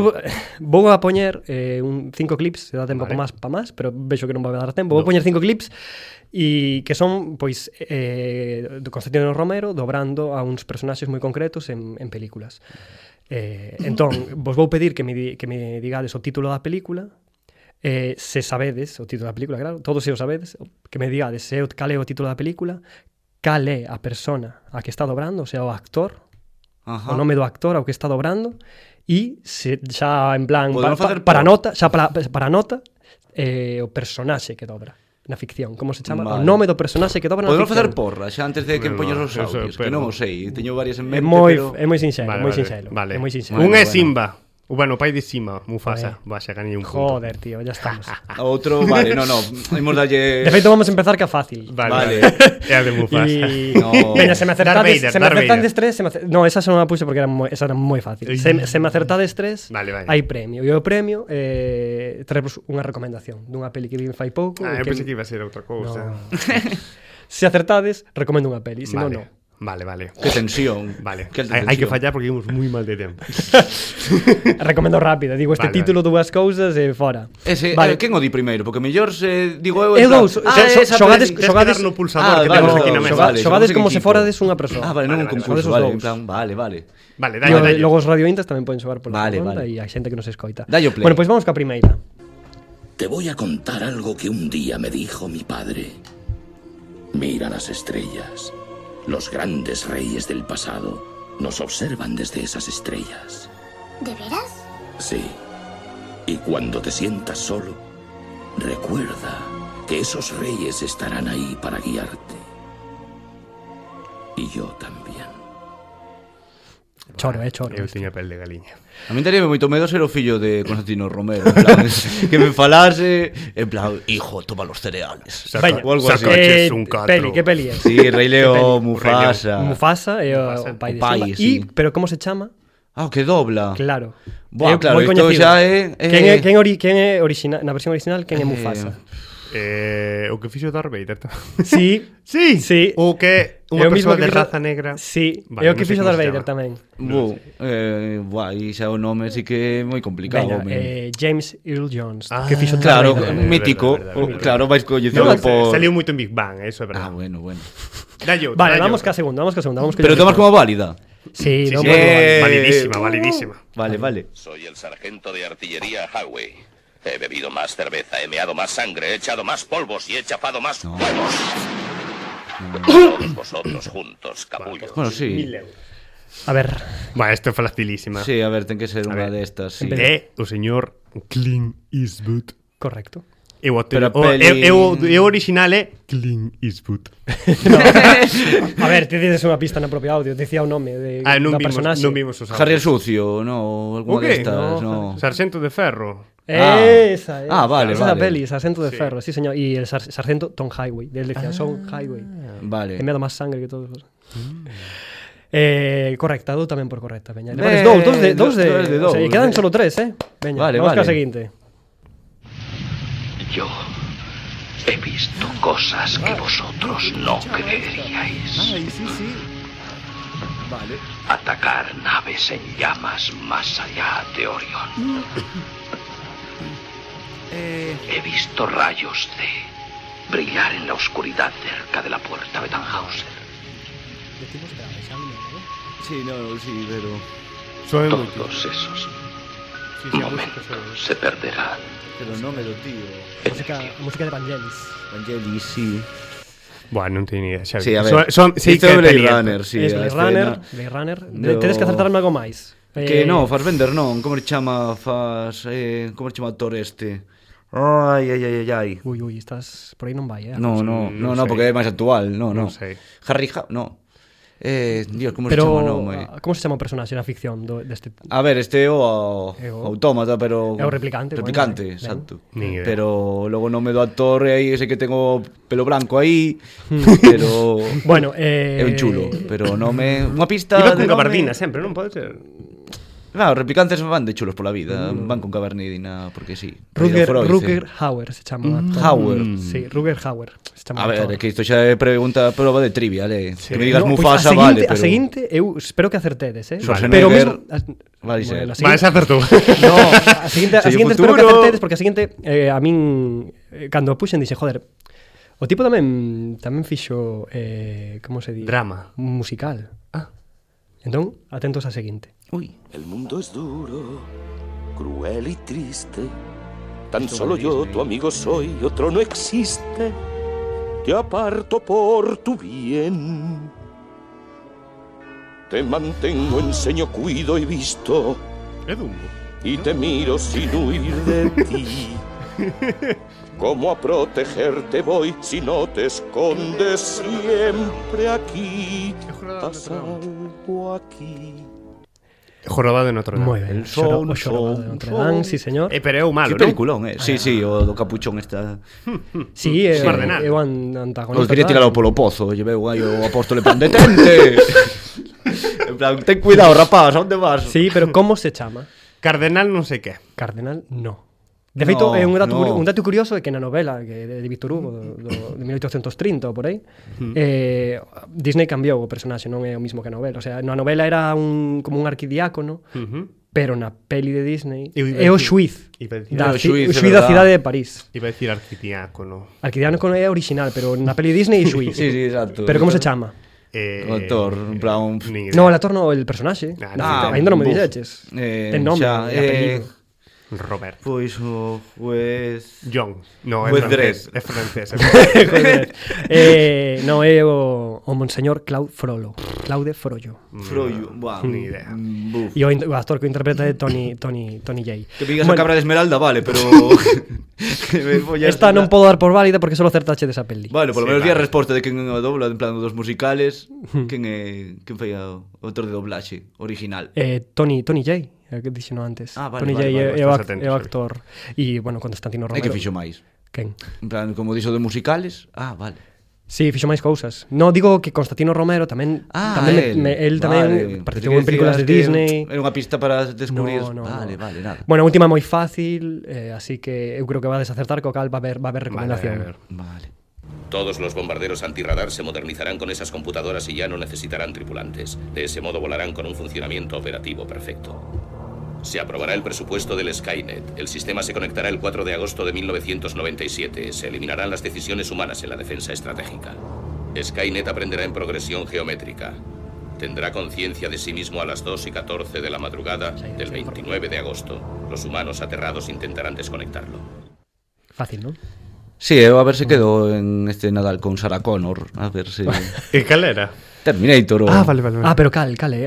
S2: vou a poñer eh, un cinco clips, se dá tempo
S1: Vale.
S2: vale. máis pa máis, pero vexo que non vai dar tempo. Vou poñer cinco clips e que son pois eh, do Constantino Romero dobrando a uns personaxes moi concretos en, en películas. Eh, entón, vos vou pedir que me, di, que me digades o título da película, eh, se sabedes o título da película, claro, todos se o sabedes, que me digades se é o- cal é o título da película, cal é a persona a que está dobrando, o sea, o actor,
S3: Ajá.
S2: o nome do actor ao que está dobrando e se xa en plan
S3: Podemos
S2: pa,
S3: facer
S2: pa, para
S3: por-
S2: nota, xa para, para nota eh, o personaxe que dobra na ficción, como se chama?
S3: Vale.
S2: O nome do personaxe que dobra na
S3: Podemos facer
S2: ficción.
S3: porra, xa antes de que
S1: Bueno,
S3: poñas os
S1: eso,
S3: audios, que
S1: pero-
S3: non o sei, teño varias en
S2: É
S3: mente,
S2: moi
S3: pero...
S2: é moi sinxelo,
S1: Vale,
S2: moi
S1: vale,
S2: sinxelo.
S1: Vale.
S2: É moi sinxelo.
S1: Un
S3: Bueno,
S1: é
S3: bueno.
S1: Simba. O, bueno, o pai de Simba, Mufasa. Va, xa gañei un punto.
S2: Joder, tío, ya estamos.
S3: Outro, vale, no, no, imos dalle...
S2: De feito vamos a empezar ca fácil.
S1: Vale.
S3: Vale.
S1: É a de Mufasa.
S2: Y...
S3: No.
S2: Veña, se me
S1: Darth
S2: acertades,
S1: Vader,
S2: se me
S1: Darth
S2: acertades
S1: Vader.
S2: tres, se me acer- No, esa xa non a puse porque era moi, esa era moi fácil. Se,
S1: Ui.
S2: se me acertades tres,
S1: Vale, vale.
S2: hai premio. E o premio eh, traemos unha recomendación dunha peli que vi fai pouco.
S1: Ah,
S2: e
S1: eu pensei que iba a ser outra cousa.
S2: No. se acertades, recomendo unha peli, se non,
S1: Vale.
S2: non.
S1: Vale, vale.
S3: Qué tensión.
S1: Vale,
S3: Qué alta
S1: hai, hai que
S3: tensión.
S1: fallar porque íbamos moi mal de tempo.
S2: Recomendo rápida, digo este
S1: Vale,
S2: título dúas cousas e fora.
S3: Ese, eh,
S2: Vale.
S3: quen o di primeiro? Porque mellor se digo eu... en
S2: Eu
S3: plan,
S2: dous, xo- xo-
S3: esa
S2: xogades-
S3: peli".
S1: Tens que
S2: Xogades-
S1: dar no pulsador
S3: Ah,
S1: que
S3: vale,
S1: temos
S3: vale,
S1: aquí na
S3: vale,
S1: mesa.
S2: Xoga-
S3: vale.
S2: Xogades
S3: somos en
S2: como se
S3: equipo.
S2: forades unha persoa.
S3: Ah, vale,
S1: Vale,
S3: non un
S1: vale,
S3: concurso,
S2: xogades os
S3: vale,
S2: dous.
S3: en plan, vale, vale.
S1: Vale,
S2: E
S1: dalle,
S2: os-
S1: dalle.
S2: logo os radiointas tamén poden xogar pola
S3: Vale,
S2: vale, ronda
S3: vale.
S2: e hai xente que nos escoita.
S3: Dalle o play.
S2: Bueno, pois vamos ca primeira.
S4: Te voy a contar algo que un día me dijo mi padre. Mira las estrellas. Los grandes reyes del pasado nos observan desde esas estrellas.
S5: ¿De veras?
S4: Sí. Y cuando te sientas solo, recuerda que esos reyes estarán ahí para guiarte. Y yo también.
S2: Choro, eh, choro.
S1: Eu tiña pel de galiña.
S3: A min daríame moito medo ser o fillo de Constantino Romero, en plan, que me falase, en plan, hijo, toma los cereales.
S1: Saca-
S3: o algo
S1: saca-
S3: así.
S1: Coches, un catro.
S2: Eh, peli, que peli é?
S3: Sí, Rey León,
S1: Rei León.
S3: Mufasa.
S2: Mufasa é o,
S1: Mufasa.
S2: o pai de
S3: O pai,
S2: Simba.
S3: sí.
S2: E, pero como se chama?
S3: Ah, o que dobla.
S2: Claro.
S3: Buah,
S2: É
S3: claro,
S2: moi
S3: isto
S2: coñecido.
S3: xa é- é-
S2: Quen é, quen ori, quen é orixina, na versión original, quen é Mufasa?
S1: Eh, o que fixo Darth Vader. ta-
S2: Sí.
S1: Sí,
S2: Sí.
S1: O que unha
S2: É o mismo
S1: persoa de
S2: que fixo-
S1: raza negra.
S2: Sí,
S1: Vale,
S2: é o
S1: non
S2: que
S1: sei
S2: fixo
S1: como
S2: Darth
S1: se
S2: Vader
S1: chama.
S2: tamén.
S3: Bu, eh, buah, aí xa o nome sí que é moi complicado,
S2: Veña,
S3: home.
S2: eh, James Earl Jones,
S1: Ah,
S2: que fixo Darth
S3: Claro,
S2: Vader.
S1: verdade,
S3: mítico,
S1: verdade, verdade.
S3: claro, vais
S1: No,
S3: coñecelo por...
S1: Saliu moito en Big Bang, eh, eso é
S3: Ah,
S1: verdade.
S3: bueno, bueno.
S1: Dallo,
S2: Vale,
S1: dallo.
S2: vamos ca segunda, vamos ca segunda, vamos que
S3: Pero
S2: yo-
S3: tomas como válida.
S1: Sí,
S2: Sí, no,
S1: sí,
S2: bueno, vale.
S3: Eh,
S1: validísima, validísima.
S3: Vale, vale.
S4: Soy el sargento de artillería Howey. He bebido más cerveza, he meado más sangre, he echado más polvos y he chafado más huevos. Todos vosotros juntos, capullos.
S3: Bueno, sí.
S2: A ver,
S1: Va, esto é facilísima.
S3: Sí, a ver, ten que ser unha
S1: ver.
S3: destas, sí.
S2: Empecé.
S1: É o señor Clint Eastwood.
S2: correcto.
S1: E o, Pero
S3: Pero a
S1: o,
S3: peli-
S1: e, e, o, e o original é Clint Eastwood.
S2: A ver, te dices unha pista na propia audio, decía o nome de
S1: Ah, non
S2: da
S1: vimos,
S2: personaxe.
S1: non vimos os
S3: Harry el
S1: audios.
S3: Sucio, no,
S1: O
S3: alguna
S1: que?
S3: destas, no.
S1: Sargento de Ferro.
S2: Eh, Esa, eh.
S3: Ah, vale,
S2: esa
S3: vale.
S2: Esa peli, Sargento de
S1: Sí.
S2: Ferro, sí, señor. Y el sar- Sargento Tom Highway, del decía Son
S3: Ah.
S2: Highway.
S3: Vale.
S2: Que me da más sangre que todos. os-
S3: Mm.
S2: Eh, correcta, dou tamén por correcta, veña.
S3: Ben,
S2: Leváis dous, dous de, dous de,
S3: dous Eh, de
S2: o sea,
S3: dous.
S2: quedan solo tres, eh. Veña,
S3: Vale,
S2: vamos ca
S3: vale.
S2: seguinte.
S4: Yo he visto cosas que vosotros no creeríais. Atacar naves en llamas más allá de Orión.
S3: Eh.
S4: He visto rayos de brillar en la oscuridad cerca de la puerta de Tannhauser.
S3: Sí, no, sí, pero...
S1: Soe moito.
S4: Todos esos momentos se perderán.
S3: Pero no me lo tío.
S2: Música, música de Vangelis.
S3: Vangelis, sí.
S1: Buah, non teño ni idea, xa.
S3: Sí, a ver.
S1: Soe- soe- sí
S3: Isto
S1: que
S3: é Blade
S1: tenía.
S3: Runner, sí.
S2: es
S3: a
S2: Blade
S3: escena.
S2: Runner, Blade Runner.
S3: do-
S2: Tedes que acertarme algo máis.
S3: Que
S2: Eh,
S3: no, Fassbender non, como se chama Fas... Eh, como se chama o actor este? Ai, ai, ai, ai, ai.
S2: Ui, ui, estás por aí non vai, eh.
S3: No, no,
S1: non
S3: no, no,
S1: sei.
S3: porque é máis actual, no,
S1: Non
S3: no.
S1: sei.
S3: Harry Ha... no. Eh, Dios, como se
S2: pero
S3: chama o nome?
S2: ah, como se chama o personaxe na ficción do deste
S3: A ver, este é o,
S2: É E o-
S3: o autómata, pero...
S2: É o replicante,
S3: Replicante,
S2: bueno, ben.
S3: exacto.
S1: Ni idea.
S3: Pero logo o nome do actor é aí ese que tengo pelo branco aí, pero...
S2: Bueno, Hmm. eh
S3: É un chulo, pero o nome... Unha pista
S1: Iba con
S3: de nome-
S1: gabardina sempre, non pode ser?
S3: Claro, os replicantes van de chulos pola vida, van con gabardina porque sí.
S2: Hmm. Ruger,
S3: Freud,
S2: Ruger
S3: eh.
S2: Hauer se chama o actor.
S3: Hauer.
S2: Sí, Ruger Hauer se
S3: A
S2: chama. o
S3: ver, é
S2: actor.
S3: que isto xa é pregunta prova de trivia, eh. Que me digas
S2: No, pois
S3: Mufasa,
S2: a
S3: vale, pero...
S2: seguinte, A seguinte, eu espero que acertedes, eh?
S3: Schwarzenegger,
S2: Pero mesmo... a-
S3: vai
S1: Vale,
S3: ser.
S2: a
S1: se
S2: seguinte-
S1: acertou.
S2: No, a seguinte, a
S3: Sei o
S2: seguinte espero que
S3: futuro.
S2: acertedes porque a seguinte eh, a min eh, cando a puxen dixe, joder, o tipo tamén tamén fixo eh, como se di?
S1: Drama.
S2: Un musical. Ah. Entón, atentos á seguinte.
S3: Ui.
S4: El mundo es duro, cruel y triste. Tan solo yo, tu amigo, soy, otro no existe. Te aparto por tu bien. Te mantengo, enseño, cuido y visto.
S1: É Dumbo.
S4: Y te miro sin huir de ti. ¿Cómo a protegerte voy si no te escondes siempre aquí? Haz algo aquí.
S1: Jorobado en otro
S2: Moi
S1: lado.
S2: ben.
S3: El son,
S2: Xoro- o xorobado de
S3: son,
S2: Notre
S3: son.
S2: Dame, sí, señor.
S1: Eh, pero é o malo,
S3: Que
S1: non?
S3: peliculón, eh.
S2: Ah,
S3: Sí, sí, o do capuchón está...
S2: Sí, eh, é,
S1: Cardenal.
S2: é o an- antagonista.
S3: Os quería
S2: tal.
S3: tiralo polo pozo, lle veu aí o apóstol en plan, detente! en plan, ten cuidado, rapaz, a onde vas?
S2: Sí, pero como se chama?
S1: Cardenal non sei que.
S2: Cardenal, no. De feito,
S3: No,
S2: é un dato,
S3: no.
S2: curi- un dato curioso é que na novela que de de Víctor Hugo do, do, de 1830 ou por aí, eh, Disney cambiou o personaxe, non é o mismo que a novela. O sea, na novela era un, como un arquidiácono,
S1: Ujú.
S2: pero na peli de Disney
S1: Eu iba
S2: é o
S1: a dicir-
S2: xuiz
S1: iba a dicir-
S2: da,
S3: É o
S2: ci-
S3: xuiz,
S2: o
S3: é
S2: xuiz da
S3: verdad.
S2: cidade de París.
S1: Iba a decir arquitiácono.
S2: Arquidiácono é original, pero na peli Disney é xuiz.
S3: Sí, sí, exacto.
S2: Pero como se chama?
S1: Eh,
S3: O actor, en plan, un-
S1: ni idea.
S2: No, o actor no, el personaxe.
S1: Ah,
S2: Ah,
S1: no.
S2: ainda non me
S3: buf.
S2: dixeches.
S3: Eh,
S2: Ten nome,
S3: xa,
S2: e apelido.
S3: eh,
S1: Robert.
S3: Pois o juez...
S1: John. No, é
S3: Pues
S1: francés.
S3: Dredd.
S1: É francés. é francés.
S2: Joder. eh, non é o, o monseñor Claude Frollo. Claude Frollo.
S3: Froyo. Buah.
S1: Ni idea.
S3: Mm, buf.
S2: E o, in- o actor que o interpreta é Tony, Tony, Tony Jay.
S3: Que me digas a
S2: Bueno,
S3: cabra de esmeralda, vale, pero... que me follas
S2: Esta
S3: una-
S2: non podo dar por válida porque solo acertache desa peli.
S3: Bueno, polo
S1: Sí,
S3: menos di a
S1: vale.
S3: resposta de quen o dobla, en plan dos musicales,
S2: Hmm.
S3: quen é quen foi o autor de doblaxe original.
S2: Eh, Tony, Tony Jay, é o que dixeno antes.
S3: Ah, vale,
S2: Tony
S3: vale,
S2: Jay
S3: vale,
S2: é, é o
S1: estás
S2: ac-
S1: atento,
S2: é o
S1: sí.
S2: actor. E, bueno, Constantino
S3: É
S2: Romero.
S3: que fixo máis.
S2: Quen?
S3: En plan, como dixo de musicales, ah, vale.
S2: Sí, fixo máis cousas. No, digo que Constantino Romero tamén
S3: Ah,
S2: tamén
S3: él,
S2: me, él
S3: vale.
S2: tamén
S3: Pensei
S2: participou en
S3: que
S2: películas de
S3: decías que
S2: Disney.
S3: Era unha pista para descubrir. vale,
S2: no.
S3: vale, nada.
S2: Bueno, a última é moi fácil, eh, así que eu creo que va a desacertar co cal va haber, va
S1: Vale,
S2: haber
S1: a
S2: recomendación.
S1: ver.
S3: Vale.
S5: Todos los bombarderos antirradar se modernizarán con esas computadoras y ya no necesitarán tripulantes. De ese modo volarán con un funcionamiento operativo perfecto. Se aprobará el presupuesto del Skynet. El sistema se conectará el 4 de agosto de 1997. Se eliminarán las decisiones humanas en la defensa estratégica. Skynet aprenderá en progresión geométrica. Tendrá conciencia de sí mismo a las 2 y 14 de la madrugada del 29 de agosto. Los humanos aterrados intentarán desconectarlo.
S2: Fácil, non?
S3: Sí, eu a ver se quedo en este Nadal con Sarah Connor, a ver se
S1: E cal era?
S3: Terminator o...
S1: Ah, vale, vale. vale.
S2: Ah, pero cal, cal, eh.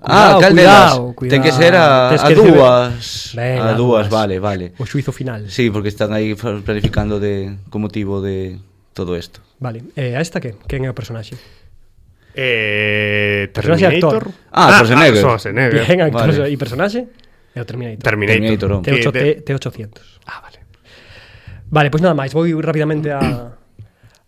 S3: Ah,
S2: ah, cuidado,
S3: cal delas.
S2: cuidado, cuidado.
S3: Ten que ser a,
S2: Tes
S3: a
S2: que ser-
S3: dúas.
S2: Ben,
S3: a dúas, vale, vale.
S2: O xuizo final.
S3: Sí, porque están aí fa- planificando de con motivo de todo isto.
S2: Vale, eh, a esta que? Quen é o personaxe?
S1: Eh,
S2: Personaxe
S1: Terminator.
S2: actor.
S3: Ah, Schwarzenegger.
S1: Schwarzenegger.
S2: Bien, actor
S3: Vale.
S2: e personaxe? É o Terminator.
S1: Terminator.
S3: Terminator.
S1: Que
S2: T8,
S1: de-
S2: T, T800. Ah, vale. Vale, pois pues nada máis, vou rapidamente a...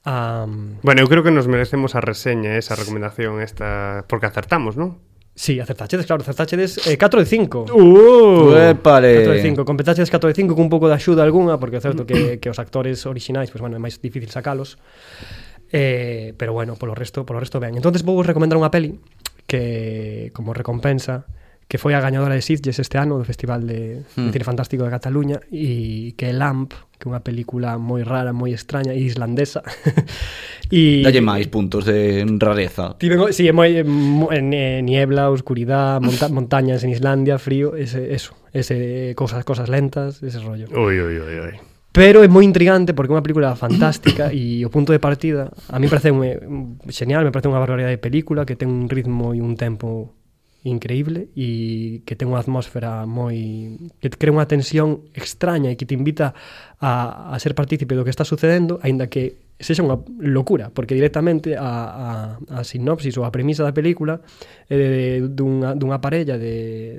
S2: a
S1: Bueno, eu creo que nos merecemos a reseña, esa recomendación esta, porque acertamos, non?
S2: Sí, acertachedes, claro, acertachedes eh, 4 de 5
S1: Uh,
S3: Uépale.
S2: 4 de 5, competaches 4 de 5 cun pouco de axuda algunha, porque é certo que, que os actores orixinais, pois, bueno, é máis difícil sacalos. Eh, pero bueno, polo resto, polo resto ben. Entonces vou vos recomendar unha peli que como recompensa que foi a gañadora de Sitges este ano do Festival de,
S3: Hmm.
S2: de Cine Fantástico de Cataluña e que é Lamp, que é unha película moi rara, moi extraña e islandesa. e
S3: Dalle máis puntos de rareza.
S2: Tiven, sí, é moi é mo- é ne- eh, niebla, oscuridad, monta, montañas en Islandia, frío, ese eso, ese cosas cosas lentas, ese rollo.
S1: Ui, ui, ui, ui.
S2: Pero é moi intrigante porque é unha película fantástica e o punto de partida a mí parece un, genial, me parece unha barbaridade de película que ten un ritmo e un tempo increíble e que ten unha atmósfera moi que te crea unha tensión extraña e que te invita a, a ser partícipe do que está sucedendo, aínda que sexa unha locura, porque directamente a, a, a sinopsis ou a premisa da película é de, de, dunha, dunha parella de,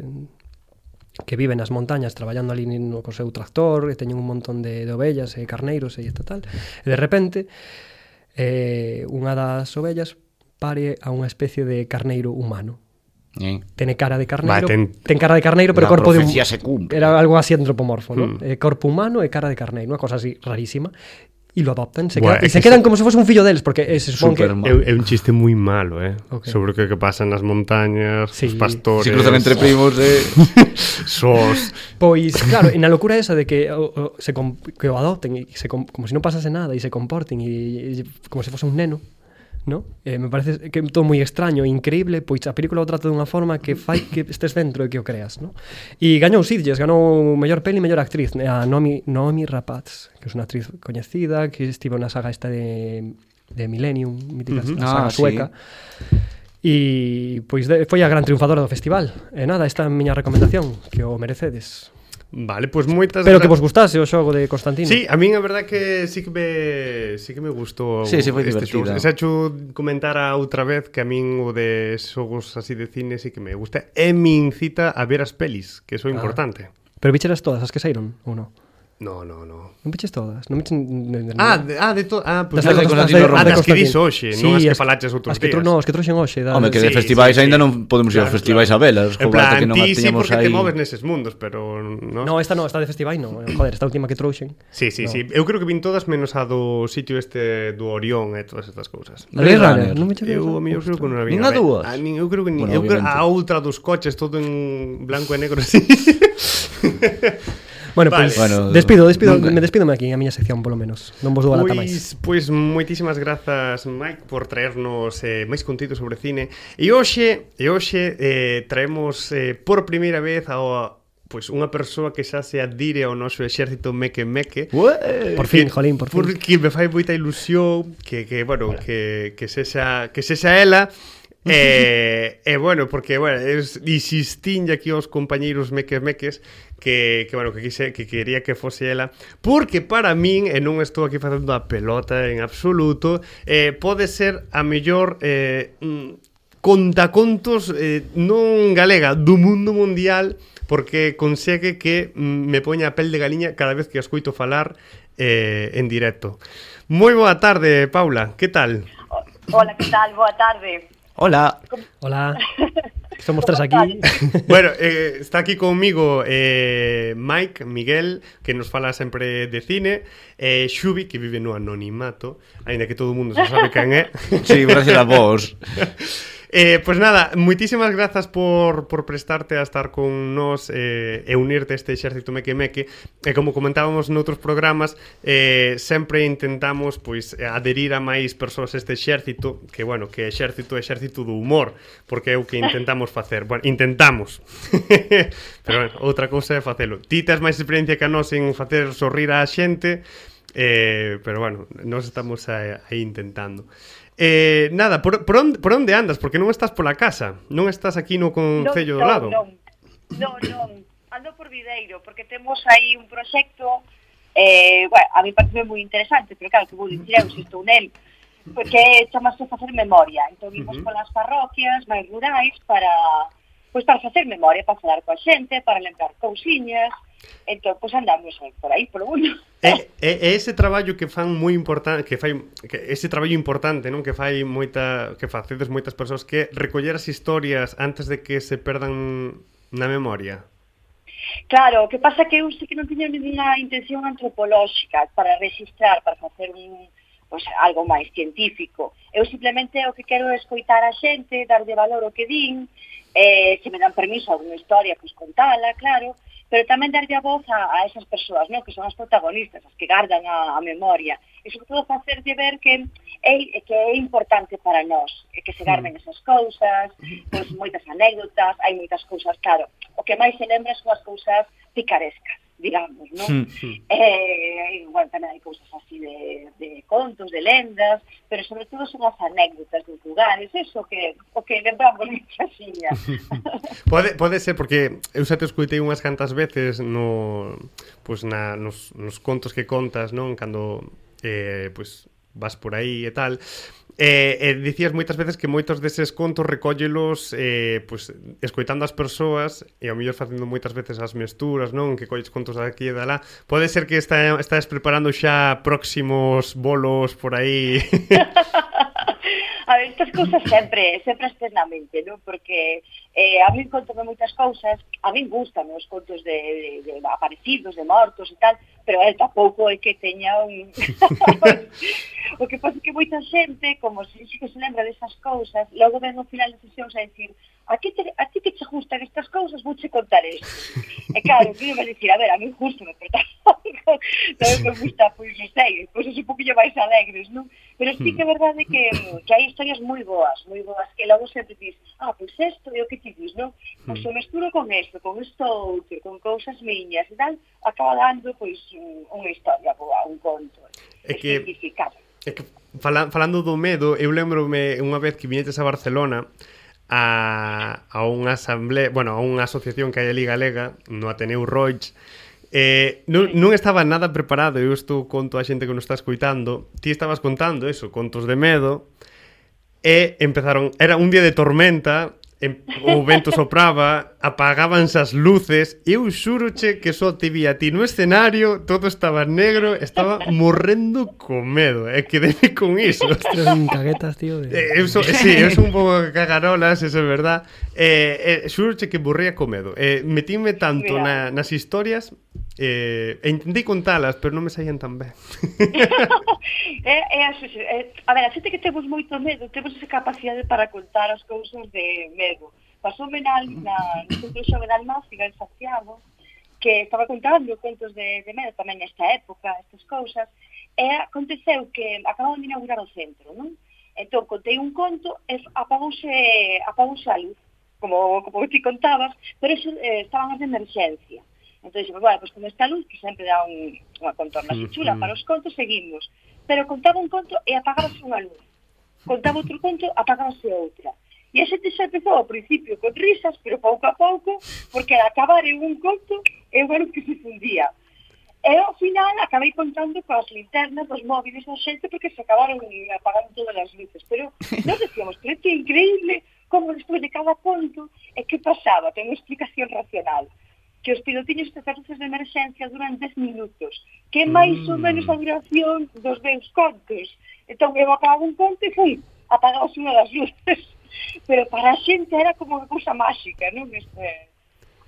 S2: que viven nas montañas traballando ali no co seu tractor, e teñen un montón de, de ovellas e carneiros e esta tal. E de repente, eh, unha das ovellas pare a unha especie de carneiro humano.
S3: Eh.
S2: Tene cara de carneiro,
S1: Va, ten-
S2: ten... ten cara de carneiro, pero
S3: La
S2: corpo de
S3: profecía se cumple.
S2: Era algo así antropomorfo, ¿no? Eh, corpo humano e cara de carneiro, unha cosa así rarísima. E lo adoptan, se,
S1: Buah,
S2: queda,
S1: é
S2: e se
S1: que
S2: quedan como se fose un fillo deles, porque eh, se supón que...
S3: Superman.
S1: É, é un chiste moi malo, eh?
S2: Ok.
S1: Okay. Sobre o que, que pasa nas montañas,
S2: Sí.
S1: sí. os pastores,
S3: Se cruzan entre primos de...
S1: sos.
S2: Pois, claro, en a locura esa de que o, o, se com, que o adopten e se com, como se non pasase nada e se comporten e, e como se fose un neno, ¿no? Eh, me parece que é todo moi extraño e increíble, pois a película o trata dunha forma que fai que estes dentro e que o creas, ¿no? E gañou Sitges, ganou mellor peli e mellor actriz, né, a Naomi, Naomi Rapaz, que é unha actriz coñecida, que estivo na saga esta de de Millennium, mítica uh -huh.
S3: Ah,
S2: saga
S3: sí.
S2: sueca. E pois de, foi a gran triunfadora do festival. E nada, esta é a miña recomendación, que o merecedes.
S1: Vale, pois pues moitas
S2: Pero que
S1: gra-
S2: vos gustase o xogo de Constantino.
S1: Sí, a min a verdad que sí que me sí que me gustou
S3: Sí, sí, foi
S1: xogo.
S3: divertida.
S1: Se hecho comentar a outra vez que a min o de xogos así de cine sí que me gusta e me incita a ver as pelis, que eso é
S2: Ah.
S1: importante.
S2: Pero bicheras todas as que saíron, ou non?
S1: No, no, no.
S2: Non peches todas, non peches...
S1: Ah, de, ah, de to... ah, pues
S3: Das de
S1: nada.
S3: Constantino Romero.
S1: ah, das que dis
S2: Constantino.
S1: hoxe, non as que falaches outros
S2: as que
S1: días.
S2: tro- No, as que trouxen hoxe. Da,
S3: Home, que de
S1: Sí,
S3: festivais
S1: sí, sí.
S3: aínda non podemos ir
S1: Claro,
S3: aos festivais a velas,
S1: En
S3: joder,
S1: plan,
S3: que non
S1: ti sí
S3: as teñamos
S1: porque te
S3: aí.
S1: moves neses mundos, pero no.
S2: No, esta non, esta de festivais non. Joder, esta última que trouxen.
S1: Sí, sí,
S2: No.
S1: sí. Eu creo que vin todas menos a do sitio este do Orión e todas estas cousas.
S2: A Blade
S3: Blade Runner.
S2: Runner, non me che
S1: Eu, a mí, eu creo que non a vin.
S3: Nin a
S1: ver,
S3: dúas?
S1: A min, eu creo que nin,
S3: Bueno,
S1: eu creo,
S3: obviamente.
S1: a outra dos coches todo en blanco e negro así.
S2: Bueno,
S1: Vale.
S2: pues,
S3: Bueno,
S2: despido, despido,
S3: nunca.
S2: me despídome aquí, a miña sección polo menos. Non vos dou a lata máis.
S1: Pois, pois moitísimas grazas Mike por traernos eh, máis contido sobre cine. E hoxe, e hoxe eh, traemos eh, por primeira vez ao pois unha persoa que xa se adire ao noso exército meque meque.
S3: Ué.
S2: Por fin,
S1: Que-
S2: jolín, por fin.
S1: Porque me fai moita ilusión que, que bueno, que, que sexa, que sexa ela. E, e bueno, porque bueno, es, insistín aquí aos compañeiros meques meques que, que bueno, que quise que quería que fose ela, porque para min e non estou aquí facendo a pelota en absoluto, eh, pode ser a mellor eh, mm, contacontos eh, non galega do mundo mundial porque consegue que mm, me poña a pel de galiña cada vez que a escoito falar eh, en directo. Moi boa tarde, Paula, que tal?
S6: O- Hola, ¿qué tal? Boa tarde.
S3: Hola.
S2: Hola. Que Somos tres
S6: ¿Cómo
S2: aquí.
S1: bueno, eh, está aquí conmigo eh, Mike, Miguel, que nos fala sempre de cine, eh, Xubi, que vive no anonimato, aínda que todo o mundo xa sabe quen é.
S3: Sí, gracias a vos.
S1: Eh, pues nada, moitísimas grazas por, por prestarte a estar con nos eh, e unirte a este exército meque meque e como comentábamos noutros programas eh, sempre intentamos pois aderir a máis persoas a este exército que bueno, que exército é exército do humor porque é o que intentamos facer bueno, intentamos pero bueno, outra cousa é facelo ti tes máis experiencia que a nos en facer sorrir a xente eh, pero bueno, nos estamos aí aí intentando Eh, nada, por, por, onde, por onde andas? Porque non estás pola casa Non estás aquí no Concello do
S6: non,
S1: Lado
S6: Non, non, non. Ando por Videiro, porque temos aí un proxecto eh, bueno, a mí parece moi interesante, pero claro, que vou dicir eu se estou nel, porque chamase facer memoria. Entón, imos
S1: Ujú.
S6: polas parroquias máis rurais para pois para facer memoria, para falar coa xente, para lembrar cousiñas, entón, pois andamos aí por aí, polo mundo.
S1: É, é, é ese traballo que fan moi importante, que fai que ese traballo importante, non, que fai moita que facedes moitas persoas que recoller as historias antes de que se perdan na memoria.
S6: Claro, o que pasa é que eu sei que non tiña ninguna intención antropolóxica para registrar, para facer un pues, algo máis científico. Eu simplemente o que quero é escoitar a xente, darlle valor ao que din, eh, se me dan permiso a unha historia, pois contala, claro, pero tamén darlle a voz a, a esas persoas, non? que son as protagonistas, as que gardan a, a memoria, e sobre todo facerlle ver que é, que é importante para nós, e que se garden esas cousas, pois moitas anécdotas, hai moitas cousas, claro, o que máis se lembra son as cousas picarescas, digamos, non? Eh, igual tamén hai cousas así de, de contos, de lendas, pero sobre todo son as anécdotas dos lugares, eso que, o que lembramos de Chaxiña.
S1: Pode, pode ser porque eu xa te escoitei unhas cantas veces no pois na nos, nos contos que contas, non, cando eh pois vas por aí e tal. Eh, eh, dicías moitas veces que moitos deses contos recóllelos eh, pois, escoitando as persoas e ao mellor facendo moitas veces as mesturas non que colles contos daqui e dalá pode ser que está, estás preparando xa próximos bolos por aí
S6: A ver, estas cousas sempre, sempre as tes na mente, non? Porque eh, a min contame moitas cousas, a min gustan os contos de, de, de aparecidos, de mortos e tal, pero eh, tampouco é que teña un... o que pasa é que moita xente, como se si, que se lembra desas cousas, logo ven ao final das sesións a dicir a que, te, a ti que che gustan estas cousas, vou che contar isto. e claro, que me dicir, a ver, a mí justo me pero tampouco non me gusta, pois, non sei, cousas un poquillo máis alegres, non? Pero sí que é verdade que, que hai historias moi boas, moi boas, que logo sempre dis, ah, pois isto é o que ti dis, non? Pois o mesturo con isto, con isto outro, con cousas miñas e tal, acaba dando, pois, un- unha historia boa, un conto.
S1: É que-
S6: especificado.
S1: É que fala, falando do medo, eu lembrome unha vez que viñetes a Barcelona a, a unha asamblea, bueno, a unha asociación que hai ali galega, no Ateneu Roig, Eh, non, non estaba nada preparado Eu estou conto a xente que nos está escoitando Ti estabas contando eso, contos de medo E empezaron, era un día de tormenta em, o vento sopraba, apagábanse as luces, eu xuroche que só te vi a ti no escenario, todo estaba negro, estaba morrendo con medo, e eh, quedeme con iso.
S2: Ostras, un caguetas, tío. de-
S1: Eh, Eu so, sí, eu son un pouco cagarolas, eso é verdad. Eh, eh, xuroche que borría co medo. Eh, metíme tanto na,
S6: Mira.
S1: nas historias, eh, e intentei contalas, pero non me saían tan ben.
S6: É, é a, suxe- é, a ver, a xente que temos moito medo, temos esa capacidade para contar as cousas de medo. Pasoume na, na, no centro xovenal Máfiga, en Santiago, que estaba contando contos de, de medo tamén nesta época, estas cousas, e aconteceu que acababan de inaugurar o centro, non? Entón, contei un conto e apagouse, apagouse a luz, como, como ti contabas, pero eso, eh, estaban as de emerxencia. Entón, dixemos, bueno, pois con esta luz, que sempre dá un, unha contorna así chula para os contos, seguimos. Pero contaba un conto e apagábase unha luz. Contaba outro conto, apagábase outra. E a xente xa empezou ao principio con risas, pero pouco a pouco, porque al acabar en un conto, é unha luz que se fundía. E ao final acabei contando coas linternas dos móviles da xente porque se acabaron apagando todas as luces. Pero nós decíamos, pero que increíble como despois de cada conto e que pasaba, ten unha explicación racional que os pilotiños de servicios de emerxencia duran 10 minutos, que é máis ou menos
S1: Mm.
S6: a duración dos meus contos. Entón, eu acababa un conto e fui, apagaos unha das luces. Pero para a xente era como unha cousa máxica, non? Este,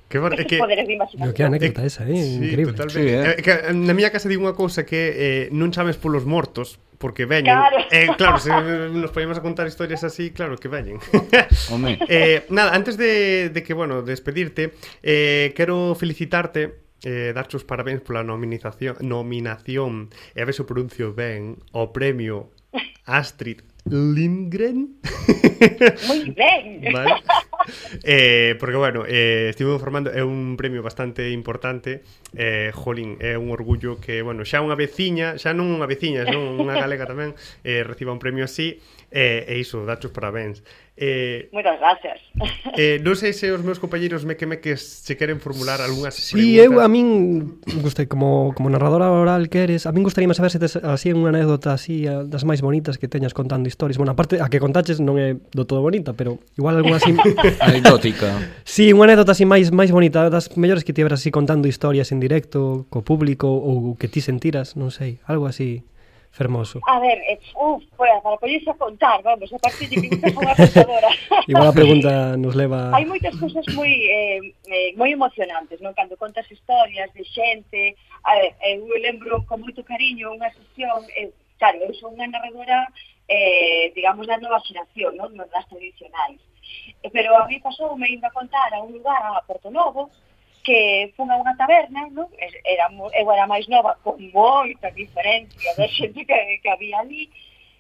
S1: Que, bar- é
S6: estes poderes de imaginación.
S2: Pero que anécdota esa, eh?
S1: Sí,
S2: Increíble.
S1: totalmente.
S3: Sí, eh.
S1: Eh, que, eh, na miña casa digo unha cousa que eh, non chames polos mortos, porque veñen.
S6: Claro.
S1: Eh, claro, se eh, nos poñemos a contar historias así, claro que veñen.
S3: Home.
S1: eh, nada, antes de, de que, bueno, despedirte, eh, quero felicitarte Eh, darche os parabéns pola nominación, nominación e a ver se o pronuncio ben ao premio Astrid Lindgren
S6: Moi ben.
S1: Vale. Eh, porque bueno, eh, estive informando é un premio bastante importante eh, Jolín, é un orgullo que bueno, xa unha veciña, xa non unha veciña xa non unha galega tamén eh, reciba un premio así eh, e iso, dachos parabéns eh,
S6: Moitas gracias.
S1: eh, non sei se os meus compañeros me que me que se queren formular algunhas
S2: Sí, eu a min gustei como como narradora oral que eres, a min gustaríame saber se tes así unha anécdota así a- das máis bonitas que teñas contando historias. Bueno, aparte a que contaches non é do todo bonita, pero igual algunha así
S3: Anecdótica.
S2: Sí, unha anécdota así máis máis bonita, das mellores que tiveras así contando historias en directo co público ou que ti sentiras, non sei, algo así fermoso.
S6: A ver, es, uf, pues, para poñerse a contar, vamos, a partir de que me unha contadora.
S2: Igual a pregunta nos leva
S6: Hai moitas cousas moi eh, eh, moi emocionantes, non? Cando contas historias de xente, a ver, eu lembro con moito cariño unha sesión, eh, claro, eu son unha narradora eh, digamos da nova xeración, non? Non das tradicionais. Eh, Pero a mí pasou me indo a contar a un lugar a Porto Novo que fun a unha taberna, non? E- Era, mo- eu era máis nova, con moita diferencia da xente que, que había ali,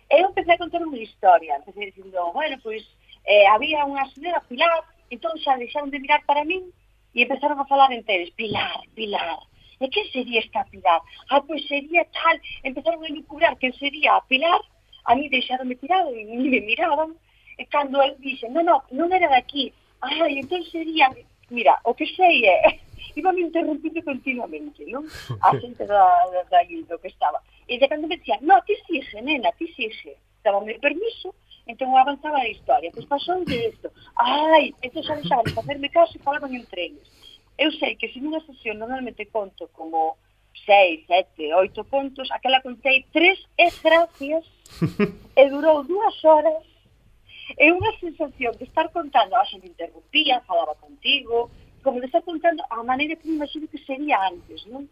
S6: eu empecé a contar unha historia, empecé dicindo, bueno, pois eh, había unha señora Pilar, entón xa deixaron de mirar para min e empezaron a falar enteres, Pilar, Pilar, e que sería esta Pilar? Ah, pois sería tal, empezaron a elucubrar que sería a Pilar, a mí deixaronme tirado e ni me miraban, e cando el dixe, non, non, non era daqui, ai, entón sería, mira, o que sei é, iba me interrumpindo continuamente, non? A xente da, da, da ali do que estaba. E de cando me dicía, no, ti sixe, nena, ti sixe. Dábame permiso, entón avanzaba a historia. Pois pasou de isto. Ai, entón xa deixaban de facerme caso e falaban en trenes. Eu sei que se nunha sesión normalmente conto como seis, sete, oito contos, aquela contei tres e gracias e durou dúas horas é unha sensación de estar contando, a xente interrumpía, falaba contigo, como de estar contando a maneira que me imagino que sería antes, non?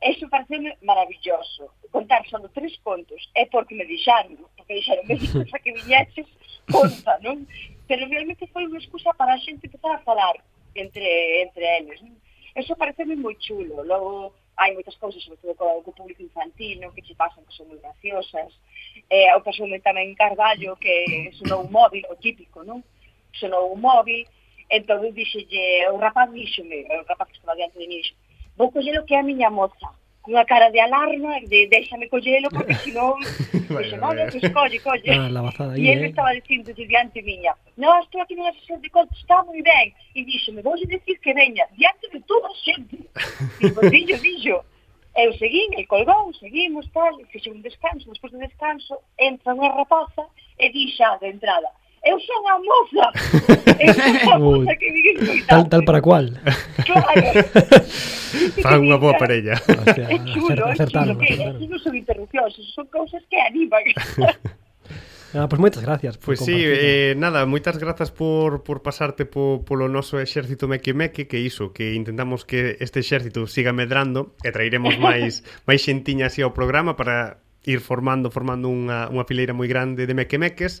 S6: Eso pareceu maravilloso, contar só tres contos, é porque me dixaron, non? porque dixaron, me dixas a que viñaches, conta, non? Pero realmente foi unha excusa para a xente empezar a falar entre, entre eles, non? Eso pareceme moi chulo. Logo, hai moitas cousas, sobre todo co, co público infantil, non? que che pasan, que son moi graciosas. Eh, ao paso tamén en Carballo, que sonou un móvil, o típico, non? Sonou un móvil, entón eu dixelle, o rapaz díxome, o rapaz que estaba diante de mí, dixo, vou collelo que é a miña moza, cunha cara de alarma, de déxame collelo, porque senón, dixo, non, non, pois colle, colle.
S2: Ah, la bazada aí,
S6: E
S2: eh.
S6: ele estaba dicindo de diante miña, non, estou aquí nunha sesión de contos, está moi ben. E díxeme, vou dicir que veña, diante de toda a xente. Digo, dillo, dillo. Eu seguín, el colgou, seguimos, tal, e fixe un descanso, despois do descanso, entra unha rapaza e dixa de entrada, e eu son a moza. Eu son a moza que vive
S2: Tal, tal para cual.
S6: Claro.
S1: Fan unha boa parella.
S2: Hostia,
S6: É
S2: acer-
S6: chulo, é chulo.
S2: acertaron,
S6: Que,
S2: acertaron.
S6: esas non son interrupcións, esas son cousas que animan.
S2: Ah, pois moitas gracias por
S1: Pois sí,
S2: compartir.
S1: eh, nada, moitas grazas por, por pasarte po, polo noso exército meque meque que iso, que intentamos que este exército siga medrando e trairemos máis máis xentiña así ao programa para ir formando formando unha, unha fileira moi grande de meque meques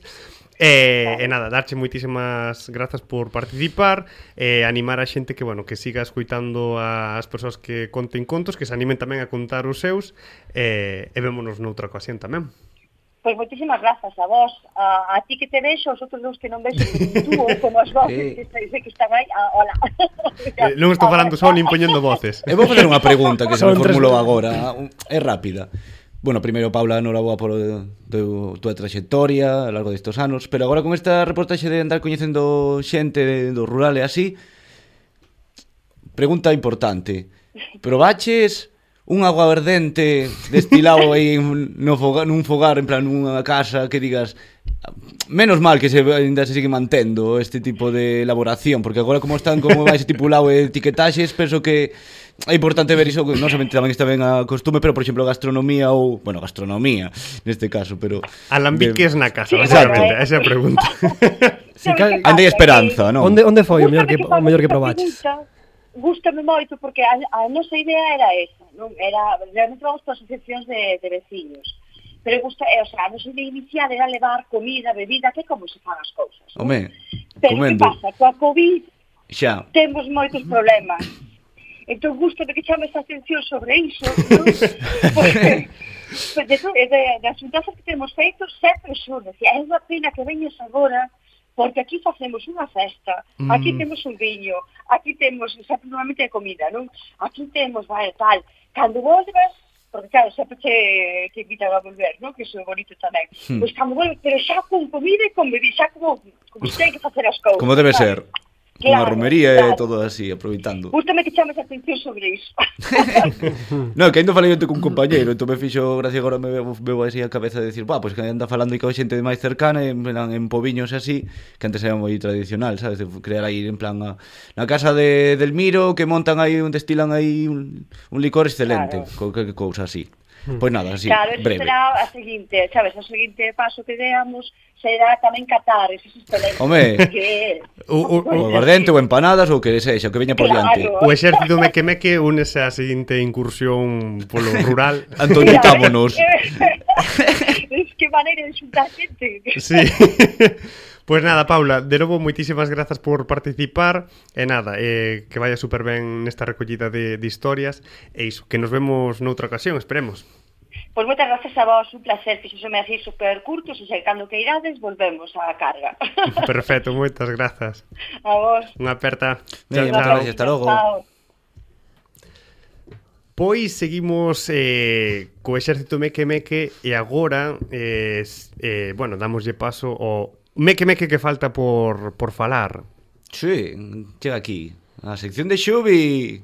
S1: E, e nada, darche moitísimas grazas por participar e animar a xente que, bueno, que siga escuitando as persoas que conten contos que se animen tamén a contar os seus e, e vémonos noutra ocasión tamén
S6: Pois moitísimas grazas a vos, a, a ti que te vexo, aos outros dous que non vexo como tú ou como as vos
S3: Sí.
S6: que, estáis, que están aí, ah, hola.
S1: Eh, non estou falando só nin poñendo voces
S3: E vou facer unha pregunta que se
S2: Son
S3: me
S2: tres-
S3: formulou agora, un- é rápida. Bueno, primeiro, Paula, enhoraboa polo teu, tua trayectoria ao largo destos anos, pero agora con esta reportaxe de andar coñecendo xente de- do rural e así, pregunta importante. Probaches un agua verdente destilado aí en- no foga, nun fogar, en plan nunha casa que digas menos mal que se ainda se sigue mantendo este tipo de elaboración, porque agora como están como vai estipulado e etiquetaxes, penso que é importante ver iso, que non somente tamén está ben a costume, pero por exemplo gastronomía ou, bueno, gastronomía neste caso, pero
S1: Alambiques na casa,
S6: Sí,
S1: basicamente,
S6: bueno, eh.
S1: esa é a pregunta.
S2: Si ca-
S3: Ande esperanza, non?
S2: Onde, onde foi o mellor que, o mellor que probaches?
S6: Gusta, gústame moito porque a, a nosa idea era esa, non? Era realmente vamos para asociacións de, de veciños. Pero gusta, eh, o sea, a nosa idea inicial era levar comida, bebida, que é como se fan as cousas. non?
S3: Home,
S6: Pero que
S3: comendo.
S6: pasa? Coa COVID
S3: Xa,
S6: temos moitos problemas. Entón, gusto de que chames a atención sobre iso, non? Porque, pues, de, to- de, das xuntanzas que temos feito, sempre xurde. Dicía, é unha pena que veñes agora, porque aquí facemos unha festa, aquí
S3: Mm.
S6: temos un viño, aquí temos, sempre normalmente é comida, non? Aquí temos, vai, tal. Cando volvas, porque claro, sempre te, te invitan a volver, non? Que iso é bonito tamén.
S3: Hmm.
S6: Pois cando volves, pero xa con comida e con bebida, xa como, como se ten que facer as cousas.
S3: como debe
S6: sabes?
S3: ser. Unha
S6: Claro,
S3: romería e
S6: claro.
S3: todo así, aproveitando.
S6: Gústame que chames a atención sobre iso.
S3: No, que ainda falei onte cun compañeiro, entón me fixo gracia agora me veo, veo así a cabeza de decir, "Buah, pois que anda falando aí coa xente de máis cercana en plan en poviños e así, que antes era moi tradicional, sabes, de crear aí en plan a, na casa de Delmiro que montan aí, un destilan aí un, un licor excelente,
S6: Claro.
S3: claro. que cousa así. Pois nada, así,
S6: claro, ese
S3: breve.
S6: será a seguinte, sabes, o seguinte paso que deamos será tamén catar eses excelentes
S3: Home.
S6: que...
S1: O, o,
S3: O
S1: o,
S3: aguardente ou empanadas ou que sexa, o que veña por diante.
S6: Claro.
S1: o exército meque meque únese á seguinte incursión polo rural.
S3: Antonitámonos.
S6: Pues, es que maneira de xuntar xente.
S1: Sí. Pois pues nada, Paula, de novo moitísimas grazas por participar e nada, eh, que vaya super ben nesta recollida de, de historias e iso, que nos vemos noutra ocasión, esperemos.
S6: Pois moitas gracias a vos, un placer, fixoseme así super curtos e se cando que irades volvemos á carga.
S1: Perfecto, moitas grazas.
S6: a vos.
S1: Unha aperta. Chao,
S3: Veña,
S1: chao.
S3: gracias, hasta logo.
S6: Chao.
S1: Pois seguimos eh, co exército Meque Meque e agora, eh, s- eh, bueno, damoslle paso ao Meque Meque que falta por, por falar.
S3: Sí, chega aquí. A sección de Xubi.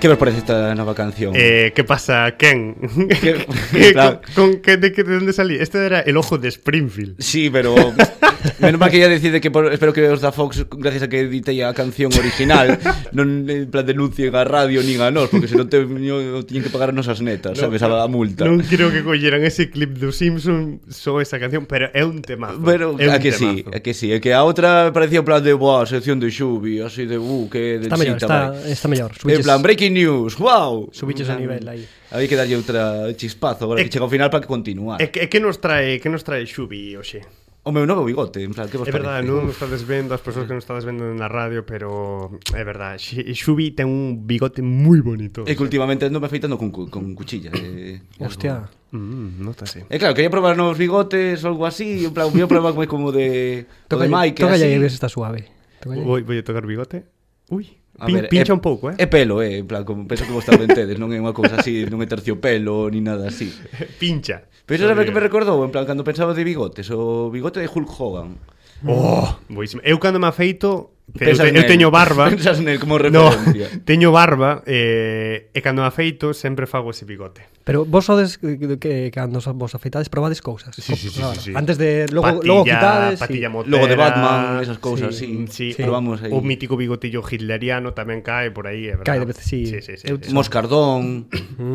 S3: Que vos parece esta nova canción?
S1: Eh, que pasa, Ken?
S3: Mm. Que-
S1: Que-
S3: claro.
S1: con, que, de, que, ¿De dónde salí? Este era el ojo de Springfield.
S3: Sí, pero menos mal que ella decide que por- espero que os da Fox gracias a que editei a canción original non en plan denuncien a radio nin a nós, porque senón te, no, tiñen que pagar as nosas netas, sabes, a, a multa.
S1: Non creo que colleran ese clip do Simpson só esa canción, pero é un temazo.
S3: Pero
S1: é un
S3: a que sí,
S1: temazo.
S3: a que sí, a que a outra parecía en plan de boa, sección de Xubi, así de uh, que de
S2: Está mellor,
S3: chita,
S2: está,
S3: vai.
S2: está mellor.
S3: En
S2: Subiches,
S3: plan, breaking news, wow
S2: subiches o nivel aí.
S3: Había que darlle outra chispazo Agora
S1: Eh,
S3: que chega ao final para que continuar
S1: E que, e que nos trae, que nos trae Xubi, oxe?
S3: O meu novo bigote, en plan, que vos
S1: É verdade,
S3: parece?
S1: non nos estades vendo as persoas que nos estades vendo na radio, pero é verdade, Xi- Xubi ten un bigote moi bonito.
S3: É que últimamente ando me afeitando con, cu- con cuchilla eh,
S2: Hostia.
S1: Mm, notase.
S3: E claro, quería probar novos bigotes ou algo así, en plan, voy a probar como de o de
S2: Toca
S3: Mike,
S2: toca aí
S3: así.
S2: a ver se está suave. Tócalle.
S1: Voy, voy a tocar bigote. Uy.
S3: A
S1: Pin-
S3: ver,
S1: pincha
S3: é-
S1: un pouco, eh?
S3: É pelo, é, en plan, como, penso que vos tamén tedes, non é unha cousa así, non é terciopelo, ni nada así.
S1: Pincha.
S3: Pero sabes que me
S1: Sobre-
S3: recordou, en plan, cando pensaba de bigotes, o bigote de Hulk Hogan.
S1: Oh, boísimo. Eu cando me afeito, te- eu,
S3: Pensas
S1: te, eu
S3: nel.
S1: teño barba.
S3: Pensas nel como
S1: No,
S3: referencia.
S1: teño barba eh, e cando me afeito sempre fago ese bigote.
S2: Pero vos sodes que, que- que cando so- vos afeitades probades cousas.
S1: Sí, sí, sí, sí, sí.
S2: Pues, Antes de logo
S1: Patilla-
S2: logo quitades.
S1: patilla motera,
S3: Logo de Batman, esas cousas,
S2: sí,
S1: Sí,
S3: sí.
S2: sí.
S3: Probamos aí.
S1: o mítico bigotillo hitleriano tamén cae por aí, é verdade.
S2: Cae de veces, sí.
S1: sí, sí, sí,
S2: Eu-
S1: sí. Mm.
S3: Moscardón,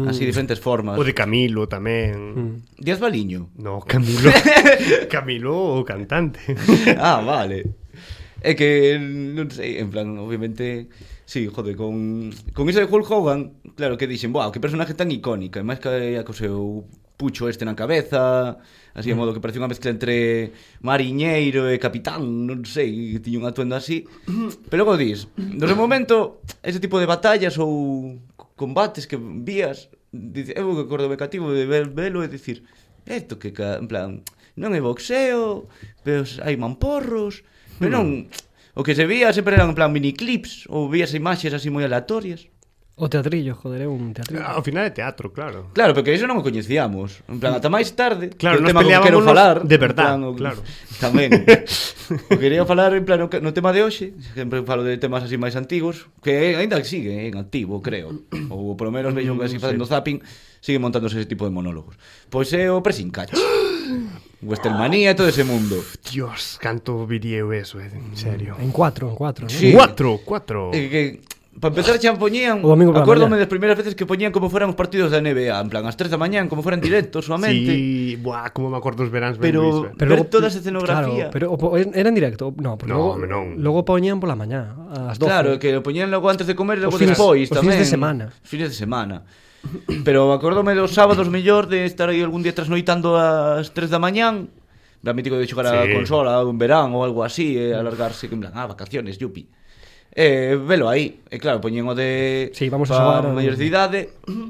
S3: así diferentes formas.
S1: O de Camilo
S2: Mm.
S1: tamén.
S3: Díaz Baliño.
S1: No, Camilo. Camilo o cantante.
S3: ah, vale. É que non sei, en plan, obviamente, sí, joder, con con iso de Hulk Hogan, claro que dixen, "Buah, que personaje tan icónica", e máis que a co seu pucho este na cabeza, así de modo que parecía unha mezcla entre mariñeiro e capitán, non sei, que tiña un atuendo así. Pero como dis, no seu momento, ese tipo de batallas ou co- combates que vías, dice, eu que acordo cativo de ver, velo e dicir, esto que, ca- en plan, non é boxeo, pero s- hai mamporros, pero non... O que se vía sempre eran en plan miniclips ou vías imaxes así moi aleatorias.
S2: O teatrillo, joder, é un teatrillo.
S1: Ao final é teatro, claro.
S3: Claro, porque iso non o coñecíamos. En plan, ata máis tarde,
S1: Claro,
S3: que é o
S1: nos
S3: tema que quero
S1: peleábamos
S3: falar,
S1: de
S3: en
S1: verdad,
S3: o-
S1: claro.
S3: Tamén. o quería falar en plan o que- no tema de hoxe, sempre falo de temas así máis antigos, que aínda que sigue eh, en activo, creo. Ou polo menos vexo
S1: Mm,
S3: que así facendo zapping, sigue montándose ese tipo de monólogos. Pois é o Presincacho. Westermanía e todo ese mundo.
S1: Dios, canto viría eu eso, eh, en serio.
S2: En cuatro, en cuatro, ¿no?
S3: Sí.
S1: Cuatro, cuatro.
S3: Eh, que para empezar xa poñían
S2: O domingo pola
S3: Acórdome
S2: mañá.
S3: das primeiras veces que poñían como foran os partidos da NBA En plan, as 3 da mañán, como foran directos solamente
S1: Sí,
S3: sí.
S1: buah, como me acordo os veráns ben Luis,
S3: Pero-
S1: eh.
S3: ver toda esa escenografía.
S2: Claro, pero o po- era en directo, no, porque
S1: No,
S2: logo,
S1: home, non.
S2: logo poñían pola mañá, ás 12.
S3: Claro, que o poñían logo antes de comer e logo
S2: Os fines-
S3: despois
S2: os
S3: tamén
S2: fines de semana.
S3: Os fines de semana Pero acórdome dos sábados mellor de estar aí algún día trasnoitando ás 3 da mañán En plan mítico de xogar a
S1: Sí.
S3: consola un verán ou algo así E alargarse, que en plan, ah, vacaciones, yupi Eh, velo aí, e claro, poñían o de
S2: Sí, vamos
S3: pa
S2: a xogar a-
S3: maiores de idade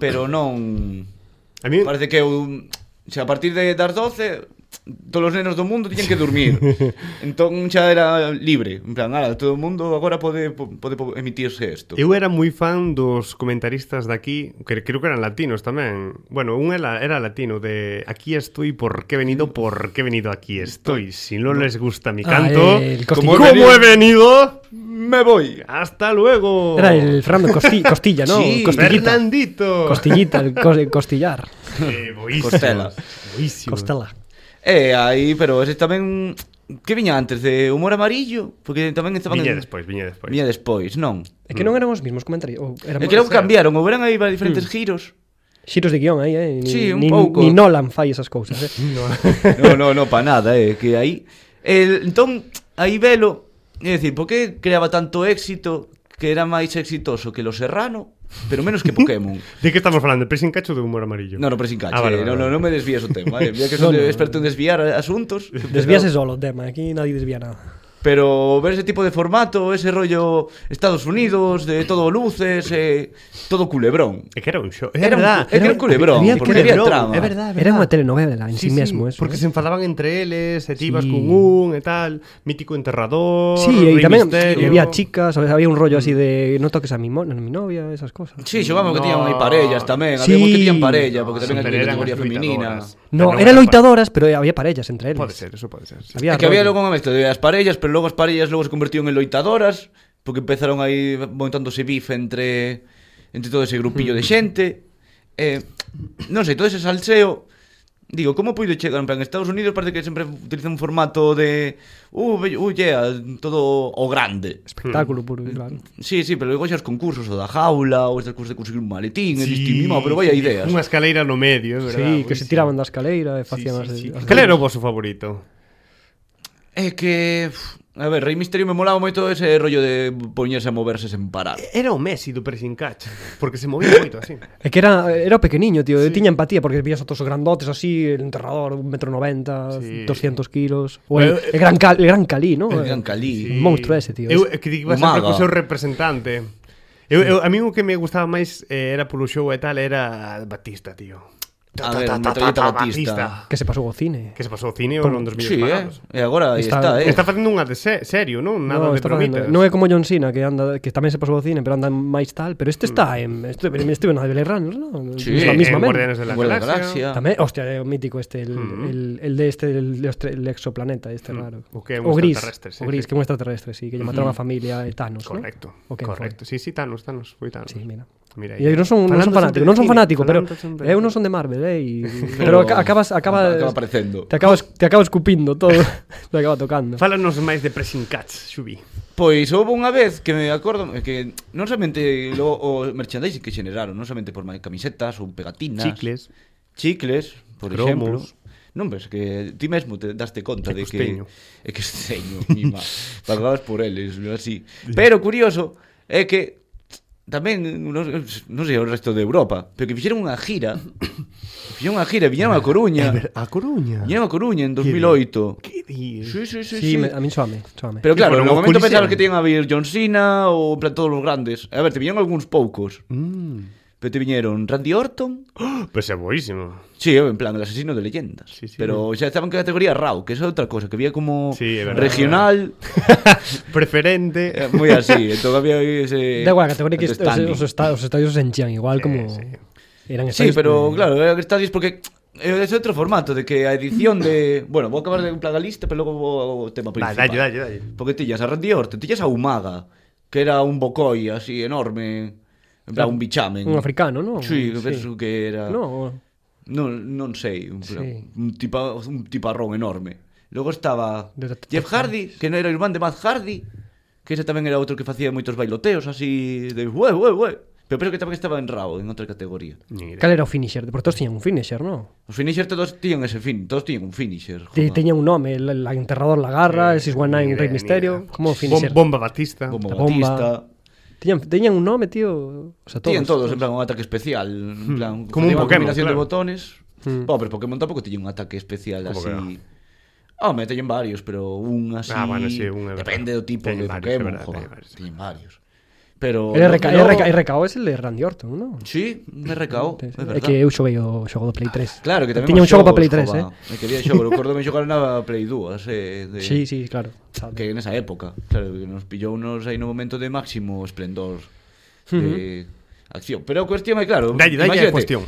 S3: Pero non
S1: eh. A mí
S3: Parece que eu, xa a partir de das 12 todos os nenos do mundo tiñen que dormir. entón xa era libre, en plan, ala, todo o mundo agora pode po- pode po- emitirse isto.
S1: Eu era moi fan dos comentaristas de aquí, que creo que eran latinos tamén. Bueno, un era, era latino de aquí estoy, por qué he venido, por qué he venido aquí estoy. Si no les gusta mi
S2: Ah,
S1: canto,
S2: el
S1: como,
S2: cosquillero.
S1: he venido,
S3: Me voy.
S1: hasta luego.
S2: Era el Fernando Costi- Costilla, ¿no?
S3: Sí,
S2: Costillita.
S1: Fernandito.
S2: Costillita, el cos- el costillar.
S1: Eh, boísimos,
S3: Costela.
S1: boísimos.
S2: Costela.
S3: Eh, aí, pero ese tamén que viña antes de humor amarillo, porque tamén estaban
S1: Viña
S3: en-
S1: despois, viña despois.
S3: Viña despois, non.
S2: É que non eran os mismos comentarios. ou eran
S3: É que logo
S2: máis-
S3: cambiaron, houberan
S1: Hmm.
S3: aí varios diferentes giros.
S2: Xiros de guión aí, eh? Ni,
S3: Sí, un
S2: ni,
S3: pouco.
S2: ni Nolan fai esas cousas, eh?
S3: No, no, no, pa nada, eh, que aí el, entón, aí velo É dicir, por que creaba tanto éxito Que era máis exitoso que Los Serrano Pero menos que Pokémon
S1: De que estamos falando? De pressing cacho de humor amarillo?
S3: No, no, pero sin cache,
S1: Ah, vale, vale,
S3: no, no,
S1: vale.
S3: no me desvíes o tema eh. Mira que son
S2: No, no,
S3: de-
S2: no.
S3: experto en desviar asuntos
S2: Desvíase solo o tema, eh, aquí nadie desvía nada.
S3: Pero ver ese tipo de formato, ese rollo Estados Unidos, de todo luces, eh, todo culebrón.
S1: É que era un show. É
S3: Era un-
S1: verdad.
S3: é que era un culebrón,
S1: Había
S3: porque
S1: culebrón,
S3: había trama.
S1: É verdad, é verdad.
S2: Era unha telenovela en
S1: Sí, sí,
S2: sí, mesmo, eso.
S1: porque se
S2: eh?
S1: enfadaban entre eles, e ti ibas
S2: Sí.
S1: con un e tal, mítico enterrador,
S2: Sí,
S1: Rey
S2: e tamén
S1: Misterio. Mm.
S2: había chicas, sabes, había un rollo así de no toques a mi, mo- a mi novia, esas cosas.
S3: Sí, xogamos
S1: No.
S3: que tiñan aí parellas tamén, había
S2: Sí.
S3: uns que tiñan parella, porque tamén
S1: Sempre
S3: había
S1: eran
S3: categoría
S1: as
S3: femenina.
S1: loitadoras.
S2: No,
S1: Pero
S2: eran
S1: era
S2: loitadoras, pero había parellas
S1: pa-
S2: entre eles.
S1: Pode ser, eso pode ser. sí.
S2: Había
S3: É que había
S2: rollo.
S3: logo unha mezcla de as parellas, pero logo as parellas logo se convertían en loitadoras, porque empezaron aí montándose bife entre entre todo ese grupillo de xente. Eh, non sei, todo ese salseo Digo, como puido chegar? En plan, Estados Unidos parece que sempre utilizan un formato de... Uh, be- uh, yeah, todo o grande.
S2: Espectáculo puro, claro.
S1: Mm.
S3: Sí, sí, pero logo xa os concursos o da jaula, ou estes cursos de conseguir un maletín, sí, e diste, "Mima, pero vaya
S1: sí,
S3: ideas.
S1: Unha escaleira no medio, é verdad.
S2: Sí, que se tiraban da escaleira
S1: Sí,
S2: e facían as...
S1: sí, sí.
S2: as-
S1: Cal era o vosso favorito?
S3: É que... uf, A ver, Rei Misterio me molaba moito ese rollo de poñerse a moverse sen parar.
S1: Era o Messi do pressing catch, porque se movía moito así.
S2: É que era, era o pequeniño, tío. Sí. Tiña empatía porque vías a todos os grandotes así, el enterrador, un metro noventa,
S1: Sí.
S2: sí. 200 kilos. O el,
S1: Pero-
S2: el, gran cal, el gran Cali, ¿no?
S3: El Gran Cali.
S2: Sí. Monstruo ese, tío.
S1: Eu, é que iba
S3: O
S1: sempre co
S3: mago.
S1: seu representante. Eu, eu, a mí o que me gustaba máis eh, era polo show e tal, era Batista, tío.
S3: A ver, metralleta Batista.
S2: Que se pasou ao cine.
S1: Que se pasou ao cine ou non 2000
S3: Sí, eh?
S1: pagados.
S3: E agora aí
S2: Está-
S3: está, eh?
S1: Está facendo unha de se- serio, non? Nada
S2: No,
S1: de
S2: está facendo-
S1: bromitas.
S2: non é como John Cena que anda que tamén se pasou ao cine, pero anda máis tal, pero
S1: Mm.
S2: este está en este este na de Blade Runner, non?
S3: Sí,
S1: Eh,
S2: Mesma- mesma
S1: en
S2: men.
S1: Guardianes de la
S3: Guardia
S1: Galaxia.
S3: da Galaxia.
S2: Tamén, hostia, é o mítico este, el,
S1: Mm.
S2: el, el de este, el, de ostre- el exoplaneta este raro.
S1: o que é un
S2: gris,
S1: extraterrestre, sí,
S2: o
S1: sí. Mm.
S2: gris, que é un extraterrestre, sí, que lle mataron a familia de Thanos,
S1: Correcto.
S2: ¿no? O que
S1: correcto. Sí, sí, Thanos, Thanos, foi Thanos.
S2: Foi. Sí, mira.
S1: Mira aí.
S2: E eu non son, non son
S1: Falando sempre
S2: fanático, non son
S1: de cine,
S2: fanático, pero
S1: falando sempre de
S2: eu non
S1: cine.
S2: son de Marvel, eh, e, pero, aca- acabas acaba,
S3: acaba aparecendo.
S2: Te acabas te acabas cupindo todo, te acaba tocando.
S1: Fálanos máis de Pressing Cats, Xubi.
S3: Pois houve unha vez que me acordo que non somente lo, o merchandising que xeraron, non somente por ma- camisetas ou pegatinas,
S1: Chicles.
S3: chicles, por
S1: Cromos.
S3: exemplo. Non ves que ti mesmo te daste conta
S1: É
S3: de que
S1: costeño.
S3: é que esteño, mima. Pagabas por eles, non así. Pero curioso é que tamén non, non sei o resto de Europa, pero que fixeron unha gira. fixeron unha gira, viñeron a Coruña.
S1: A Coruña.
S3: Viñeron a Coruña en 2008.
S1: Que di?
S3: Sí, sí, sí,
S2: Sí, me, a mí soame, soame.
S3: Pero
S1: Sí,
S3: claro,
S1: pero
S3: no
S1: no
S3: momento
S1: Coliseo.
S3: pensabas que te iban a vir John Cena ou en plan todos os grandes. A ver, te viñeron algúns poucos.
S1: Mm.
S3: Pero te viñeron Randy Orton.
S1: Pois é boísimo.
S3: Sí, en plan, el asesino de leyendas.
S1: Sí, sí.
S3: Pero xa estaba en categoría Raw, que esa é outra cosa, que había como
S1: Sí, é verdade.
S3: regional,
S1: Preferente.
S3: eh, moi así, entón había ese...
S2: da igual, a categoría que est- os,
S3: understanding.
S2: os, esta- os estadios se enchían igual
S1: Sí,
S2: como
S1: sí.
S2: eran
S3: Sí,
S2: estadios.
S3: pero
S2: de-
S3: claro, é que estadios porque é ese outro formato de que a edición de, bueno, vou acabar de en plan a lista, pero logo vou ao tema
S1: Va,
S3: principal.
S1: dalle, dalle, dalle.
S3: Porque tillas a Randy Orton, tillas a Umaga, que era un bocoi así enorme, en plan un bichamen.
S2: Ah, Un africano, ¿no?
S3: Sí,
S2: Sí.
S3: sí. penso que era...
S2: No,
S3: Non, non sei, un,
S2: Sí.
S3: un, tipa, un tiparrón enorme. Logo estaba
S2: De- de-
S3: Jeff Hardy, que non era o irmán de Matt Hardy, que ese tamén era outro que facía moitos bailoteos así de ué, ué, ué. Pero penso que tamén estaba en Raw, en outra categoría.
S1: Ni idea.
S2: cal era o finisher? Porque todos tiñan un finisher, ¿no?
S3: Os finishers todos tiñan ese fin, todos tiñan un finisher.
S2: Te,
S3: joder.
S2: teña un nome, el, el enterrador la garra, el 619
S1: Ni
S2: Rey
S1: idea, ni
S2: Misterio,
S1: idea.
S2: como
S1: Eh,
S2: finisher.
S1: Bom- Bomba Batista.
S3: Como
S2: la bomba.
S3: Batista.
S2: Teñan, teñan un nome, tío. O sea, todos.
S3: Tiñan todos, en plan, un ataque especial. En plan,
S1: Hmm. Como un
S3: facían unha
S1: Pokémon,
S3: combinación de
S1: claro.
S3: botones.
S2: Hmm.
S3: Mm. Pau, pero Pokémon tampouco tiña un ataque especial
S1: Como
S3: así...
S1: que
S3: Que... Home, teñen varios, pero un así...
S1: Ah, bueno, sí, un é verdade.
S3: Depende do tipo
S1: Teñen
S3: de
S1: varios, é
S3: Pokémon,
S1: verdade,
S3: joder.
S1: teñen varios, sí.
S3: Teñen varios. Pero...
S2: El RK,
S3: pero-
S2: RK, RKO es el de Randy Orton, ¿no?
S3: Sí, me recao, é
S2: É
S3: verdad.
S2: eh, que eu xovei o xogo do Play 3.
S3: Claro, que tamén
S2: Tiña
S3: os
S2: un xogo para Play 3,
S3: xogos,
S2: eh?
S3: jova. Me quería xogo, recordo me xogar na Play 2, eh, de...
S2: Sí, sí, claro. sabe.
S3: que en esa época, claro, que nos pillou nos aí no momento de máximo esplendor de acción. Pero a cuestión é claro,
S1: Dalle, dalle a
S3: imagínate,
S1: cuestión.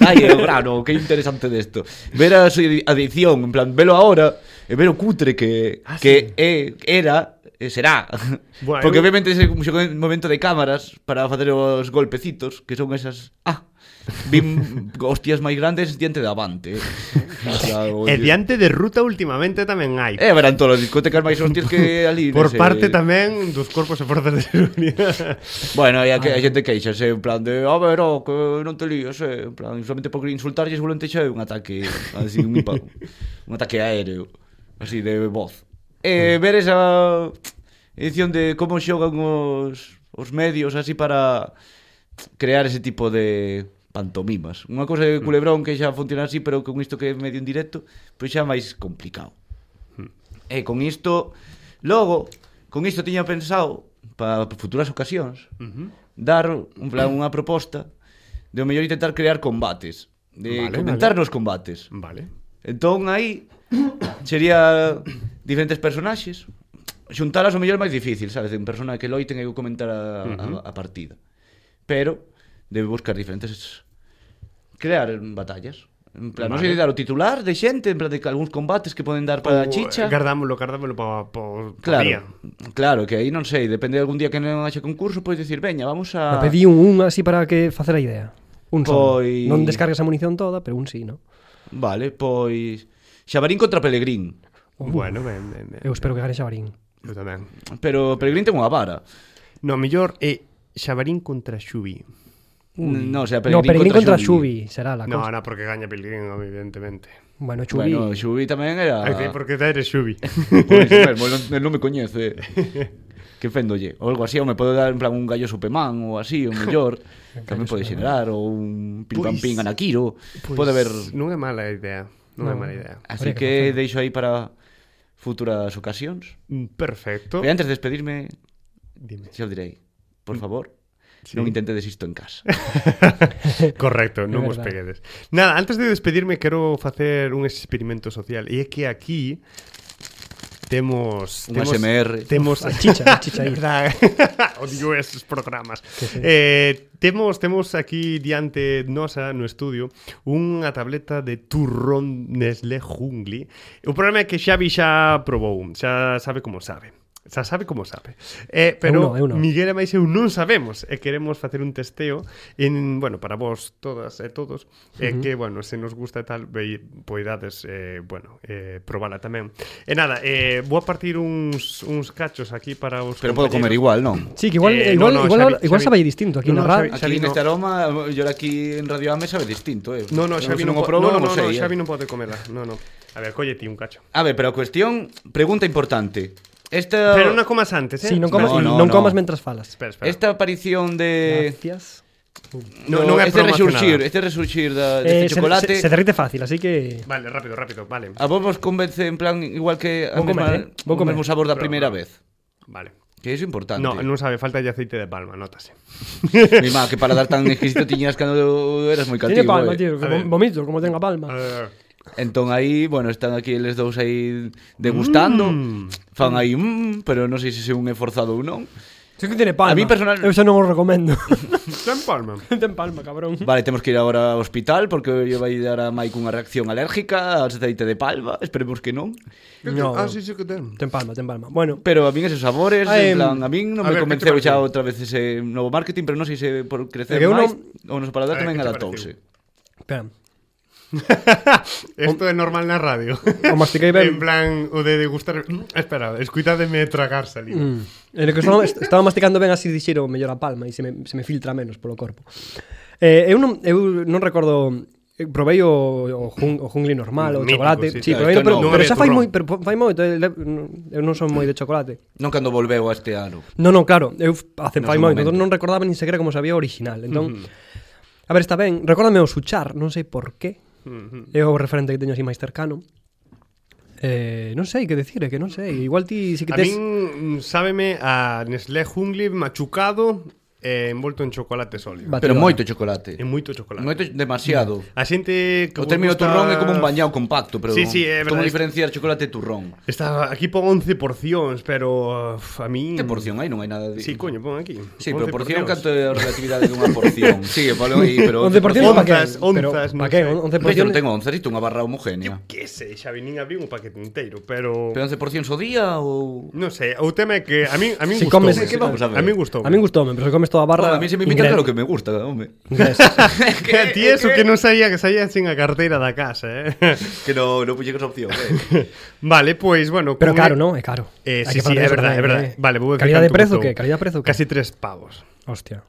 S3: Ai, é o grano, que interesante desto. Ver a súa adición, en plan, velo ahora, e ver o cutre que, ah, que sí. é, era, e será.
S1: Buah,
S3: Bueno, eh, Porque
S1: eu-
S3: obviamente ese chegou un momento de cámaras para facer os golpecitos, que son esas... Ah, vim hostias máis grandes diante de avante. O sea, o-
S1: E diante de ruta últimamente tamén hai.
S3: Eh, verán todas as discotecas máis hostias que eh, ali.
S1: Por
S3: nese-
S1: parte tamén dos corpos e forzas de seguridade.
S3: Bueno, e a, que, a xente queixase en plan de, a ver, oh, que non te lías, eh, en plan, solamente por insultarlle seguramente xa é un ataque, así, un, impa, un ataque aéreo, así, de voz. E ver esa edición de como xogan os, os medios así para crear ese tipo de pantomimas. Unha cousa de culebrón que xa funciona así, pero con isto que é medio en directo, pois xa é máis complicado. E con isto, logo, con isto tiña pensado para futuras ocasións dar un plan unha proposta de o mellor intentar crear combates,
S1: Vale,
S3: de vale, comentar vale. nos combates.
S1: Vale.
S3: Entón aí sería diferentes personaxes, xuntalas o mellor é máis difícil, sabes, de un persona que loiten e eu comentar a, a, a partida. Pero debe buscar diferentes crear batallas. En plan, non
S1: Vale.
S3: sei de dar o titular de xente, en plan de que algúns combates que poden dar para a chicha.
S1: Gardámolo, gardámolo Eh, pa, pa, pa
S3: Claro,
S1: día.
S3: claro, que aí non sei, depende de algún día que non haxe concurso, podes dicir, veña, vamos a...
S2: Me pedí un, un así para que facer a idea. Un solo.
S3: Pois-
S2: Non descargas a munición toda, pero un sí, ¿no?
S3: Vale, pois... Xabarín contra Pelegrín.
S1: Bueno, ben, ben, ben.
S2: Oh. Eu espero que gane Xabarín.
S1: Eu tamén.
S3: Pero Pelegrín ten unha vara.
S1: No, mellor é Xabarín contra Xubi.
S3: Non, o sea,
S2: Peregrín no,
S3: Pelegrín,
S2: Peregrín contra,
S3: Xubi.
S2: Xubi, será la
S1: No,
S2: cosa.
S1: no, porque gaña Pilgrim, evidentemente.
S2: Bueno, Xubi.
S3: Bueno, Xubi tamén era...
S1: Ah. Porque te eres Xubi.
S3: Por iso mesmo, el non, el non me coñece. que fendolle. Ou algo así, ou me podo dar en plan un gallo supemán ou así, ou mellor. tamén pode xenerar, ou un pim pam pim
S1: Pois-
S3: anaquiro. pode haber...
S1: Non é mala idea. Non é
S2: No.
S1: mala idea.
S3: Así
S2: Habría
S3: que,
S2: que
S3: que deixo aí para futuras ocasións.
S1: Perfecto.
S3: E antes de despedirme,
S1: Dime. Mm.
S3: xa o direi, por favor, Sí. Non intentedes isto en casa.
S1: Correcto, non
S2: É
S1: vos
S2: verdade.
S1: peguedes. Nada, antes de despedirme quero facer un experimento social e é que aquí temos
S3: Un
S1: temos
S3: ASMR.
S1: temos
S2: A chicha, a chicha aí.
S1: Verdad. Odio esos programas. Eh, temos temos aquí diante nosa no estudio unha tableta de turrón Nestlé Jungli. O problema é que Xavi xa probou, xa sabe como sabe. Xa sabe como sabe. Eh, pero
S2: non, eu non.
S1: Miguel e máis eu non sabemos e queremos facer un testeo en, bueno, para vos todas e todos e que, bueno, se nos gusta e tal vei, poidades, eh, bueno, eh, probala tamén. E nada, eh, vou a partir uns, uns cachos aquí para os
S3: Pero podo comer
S1: compañeros.
S3: igual, non?
S2: Sí, que igual,
S1: Eh,
S2: igual,
S1: no, no,
S2: igual,
S1: Xavi,
S2: igual
S1: Xavi.
S2: sabe aí distinto aquí
S1: No,
S2: no,
S1: no,
S2: na radio.
S1: Xavi.
S3: Aquí
S1: no.
S3: neste aroma, yo aquí en Radio Ame sabe distinto, eh.
S1: No, no,
S3: Eu
S1: Xavi
S3: se
S1: non,
S3: o
S1: po-
S3: probo,
S1: no, no,
S3: non o sei,
S1: no,
S3: eh.
S1: Xavi non pode comela. No, no. A ver, colle ti un cacho.
S3: A ver, pero a cuestión, pregunta importante. Esta
S1: Pero non a comas antes, eh?
S2: Sí, non comas,
S3: No, no,
S2: non
S3: no.
S2: comas mentras falas.
S1: Espera, espera.
S3: esta aparición de
S2: Gracias.
S1: No, non é
S3: este
S1: promocionada.
S3: resurxir, este resurxir da
S2: Eh,
S3: deste
S2: se,
S3: chocolate.
S2: se, se derrite fácil, así que
S1: Vale, rápido, rápido, vale.
S3: A vos vos convence en plan igual que a
S2: Vou comer,
S3: mesma,
S2: eh. Vou
S3: o
S2: comer.
S3: mesmo sabor da
S1: Pero-
S3: primeira vez.
S1: Vale.
S3: Que iso é importante.
S1: No, non sabe, falta de aceite de palma, notase.
S3: Mi má, que para dar tan exquisito tiñas cando eras moi
S2: tiene
S3: cativo. eh.
S2: palma, tío,
S1: A
S2: que
S1: ver.
S2: vom- vomito como
S1: A
S2: tenga palma.
S1: ver,
S3: Entón aí, bueno, están aquí eles dous aí degustando. Fan aí, mm, pero non sei se é un esforzado ou non.
S2: Sí que tiene palma.
S3: A mí personal-
S2: eu xa non o recomendo.
S1: Ten palma.
S2: ten palma, cabrón.
S3: Vale, temos que ir agora ao hospital porque lle vai dar a Mike unha reacción alérgica ao aceite de palma, esperemos que non.
S2: No.
S1: Ah, sí, sí que ten.
S2: Ten palma, ten palma. Bueno,
S3: Pero a min eses sabores,
S2: Ah, em,
S3: en plan, a min non
S1: a
S3: me
S1: ver,
S3: convenceu
S1: que te
S3: xa
S1: pareceu?
S3: outra vez ese novo marketing, pero non sei se por crecer
S2: É que eu
S3: máis ou
S2: non-
S3: nos
S1: A
S3: paladar
S1: ver,
S3: tamén
S1: que Eh, te
S3: adaptouse.
S2: espera.
S1: Esto é normal na radio.
S2: O mastiquei ben.
S1: En plan, o de degustar... Mm, Espera, escuitademe tragar saliva.
S2: Mm. En el que estaba, estaba masticando ben así dixero mellor a palma e se me, se me filtra menos polo corpo. Eh, eu non eu non recordo eu probei o, o, jun, o jungli normal, o
S1: Mítico,
S2: chocolate,
S1: sí,
S2: sí,
S1: claro,
S2: probei,
S3: isto non.
S2: pero, pero,
S3: Non
S2: pero
S1: había
S2: xa fai
S1: turrón.
S2: moi, pero fai moito, eh, le- eu non son moi de chocolate.
S3: Non cando volveu a este ano.
S2: No, no, claro, eu f- hace
S3: No
S2: fai
S3: son
S2: moito,
S3: momento.
S2: entón non recordaba nin sequera como sabía o original. Entón, a ver, está ben, recórdame o suchar, non sei por qué. É o referente que teño así máis cercano. Eh, non sei que decir, é que non sei. Igual ti si
S1: A
S2: que tes...
S1: min, mm, sábeme a Nestlé Jungli machucado e envolto en chocolate sólido.
S3: Pero
S2: Batidora.
S3: moito chocolate.
S1: E moito chocolate.
S3: Moito demasiado.
S1: A xente que vos
S3: O término
S1: gusta-
S3: turrón é como un bañado compacto, pero
S1: Sí, sí, é verdade.
S3: como diferenciar chocolate e turrón?
S1: Está aquí pon 11 porcións, pero uf, a mí
S3: Que porción hai? Non hai nada
S1: Mm.
S3: de...
S1: Sí, coño, pon aquí.
S3: Sí,
S1: 11
S3: pero
S1: porcións.
S3: porción canto é a relatividade dunha porción. Sí, polo aí, pero...
S2: 11 porciones pa que?
S1: onzas, onzas,
S2: pa
S1: non
S2: que?
S1: sei.
S2: 11
S3: Pois eu non
S2: porciones.
S3: tengo 11, isto é unha barra homoxénea.
S1: Que sei, xa vinín abrir un paquete inteiro, pero
S3: Pero 11 porcións o día ou...
S1: non sei, o tema é que a min a min
S2: Si
S1: gustoume.
S2: comes- Que
S3: vamos a ver?
S1: A min gustou.
S2: A mí gustoume, pero se comes toda a
S3: Bueno,
S2: barra.
S3: a mí se me invita todo lo
S2: ingreso.
S3: que me gusta, home.
S1: Que a ti eso que non saía que saía sin a carteira da casa, eh.
S3: Que no, no puxe que esa opción, eh.
S1: vale, pois, bueno,
S2: Pero
S1: con-
S2: caro, non? É caro.
S1: Eh,
S2: Hai
S1: sí, sí,
S2: que
S1: é
S2: facer eso
S1: verdade, é
S2: tamén,
S1: verdade.
S2: eh.
S1: Vale, vou ver
S2: Calidad de
S1: canto
S2: prezo
S1: custou.
S2: que? Calidad de prezo que?
S1: Casi 3 pavos.
S2: Hostia.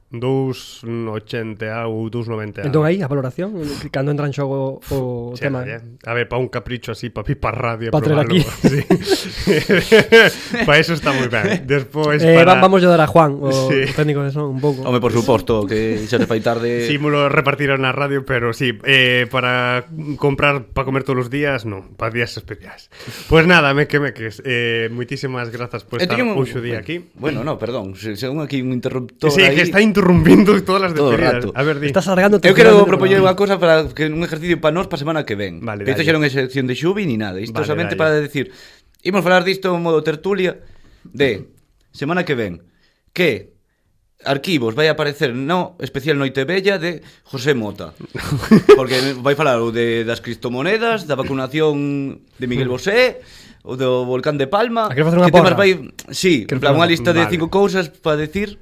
S1: 2,80 ou 2,90.
S2: Entón aí a valoración, cando entra en xogo o
S1: Xa,
S2: tema. ¿eh?
S1: ya. A ver, para un capricho así, para pipa radio
S2: Pa traer
S1: probarlo.
S2: aquí.
S1: Sí. para eso está moi ben. Despois
S2: Eh,
S1: Pues para
S2: va- vamos a dar a Juan, o,
S1: Sí.
S2: o técnico de son, un pouco.
S3: Home, por suposto, que xa te fai tarde...
S1: Sí, me lo repartieron a radio, pero sí, eh, para comprar, para comer todos los días, no, para días especiales. Pues nada, me que me que eh, muchísimas gracias por
S3: Eh,
S1: estar
S3: teño un-
S1: hoxe día aquí.
S3: Bueno, no, perdón, se- según aquí un interruptor
S1: Sí,
S3: aí...
S1: que está interrumpiendo todas las
S3: Todo o
S1: despedidas.
S3: rato.
S1: A ver, di.
S2: Estás alargando
S3: Eu quero propoñer unha cousa para que un exercicio para nós para semana que ven.
S1: Vale,
S3: que isto
S1: dalle.
S3: xa non é sección de Xubi ni nada, isto
S1: Vale,
S3: somente
S1: dalle.
S3: para decir, imos falar disto en modo tertulia de semana que ven que arquivos vai aparecer no especial Noite Bella de José Mota. Porque vai falar o de das criptomonedas, da vacunación de Miguel Bosé, o do volcán de Palma.
S2: Ah, quero facer unha
S3: que temas
S2: porra.
S3: vai, sí, en
S2: Quero
S3: plan
S2: facer
S3: unha
S2: unha-
S3: lista de
S1: vale.
S3: cinco cousas para decir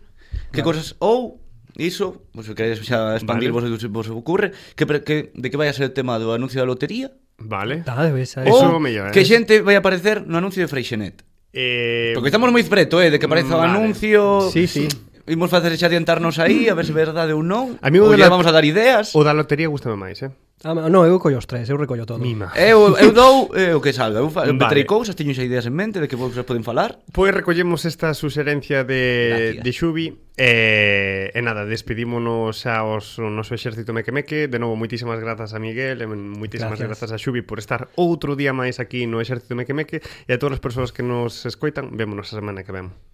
S3: que cousas ou iso, pois se queredes xa expandir
S1: Vale.
S3: vale. vos, vos ocorre que, pre- que de que vai a ser o tema do anuncio da lotería
S1: Vale.
S2: Está de vez,
S1: Eso
S3: ou
S1: é o mellor, eh.
S3: que xente vai aparecer no anuncio de Freixenet.
S1: Eh,
S3: Porque estamos moi preto, eh, de que apareza o
S1: vale.
S3: anuncio.
S2: Sí, sí.
S3: Imos facer xa adiantarnos aí, a ver se é verdade ou non.
S1: A mí o
S3: ou
S1: de
S3: lle
S1: la-
S3: vamos a dar ideas.
S1: O da lotería gustame máis, eh.
S2: Ah, no, eu collo os tres, eu recollo todo.
S1: Mima.
S3: Eu, eu dou eh, o que salga, eu fa,
S1: Vale.
S3: vale. petrei cousas, teño xa ideas en mente de que vos poden falar.
S1: Pois recollemos esta suxerencia de,
S3: Gracias.
S1: de Xubi eh, E nada, despedímonos aos o noso exército mequemeque De novo, moitísimas grazas a Miguel E moitísimas
S2: Gracias.
S1: grazas. a Xubi por estar outro día máis aquí no exército mequemeque E a todas as persoas que nos escoitan Vémonos a semana que vemos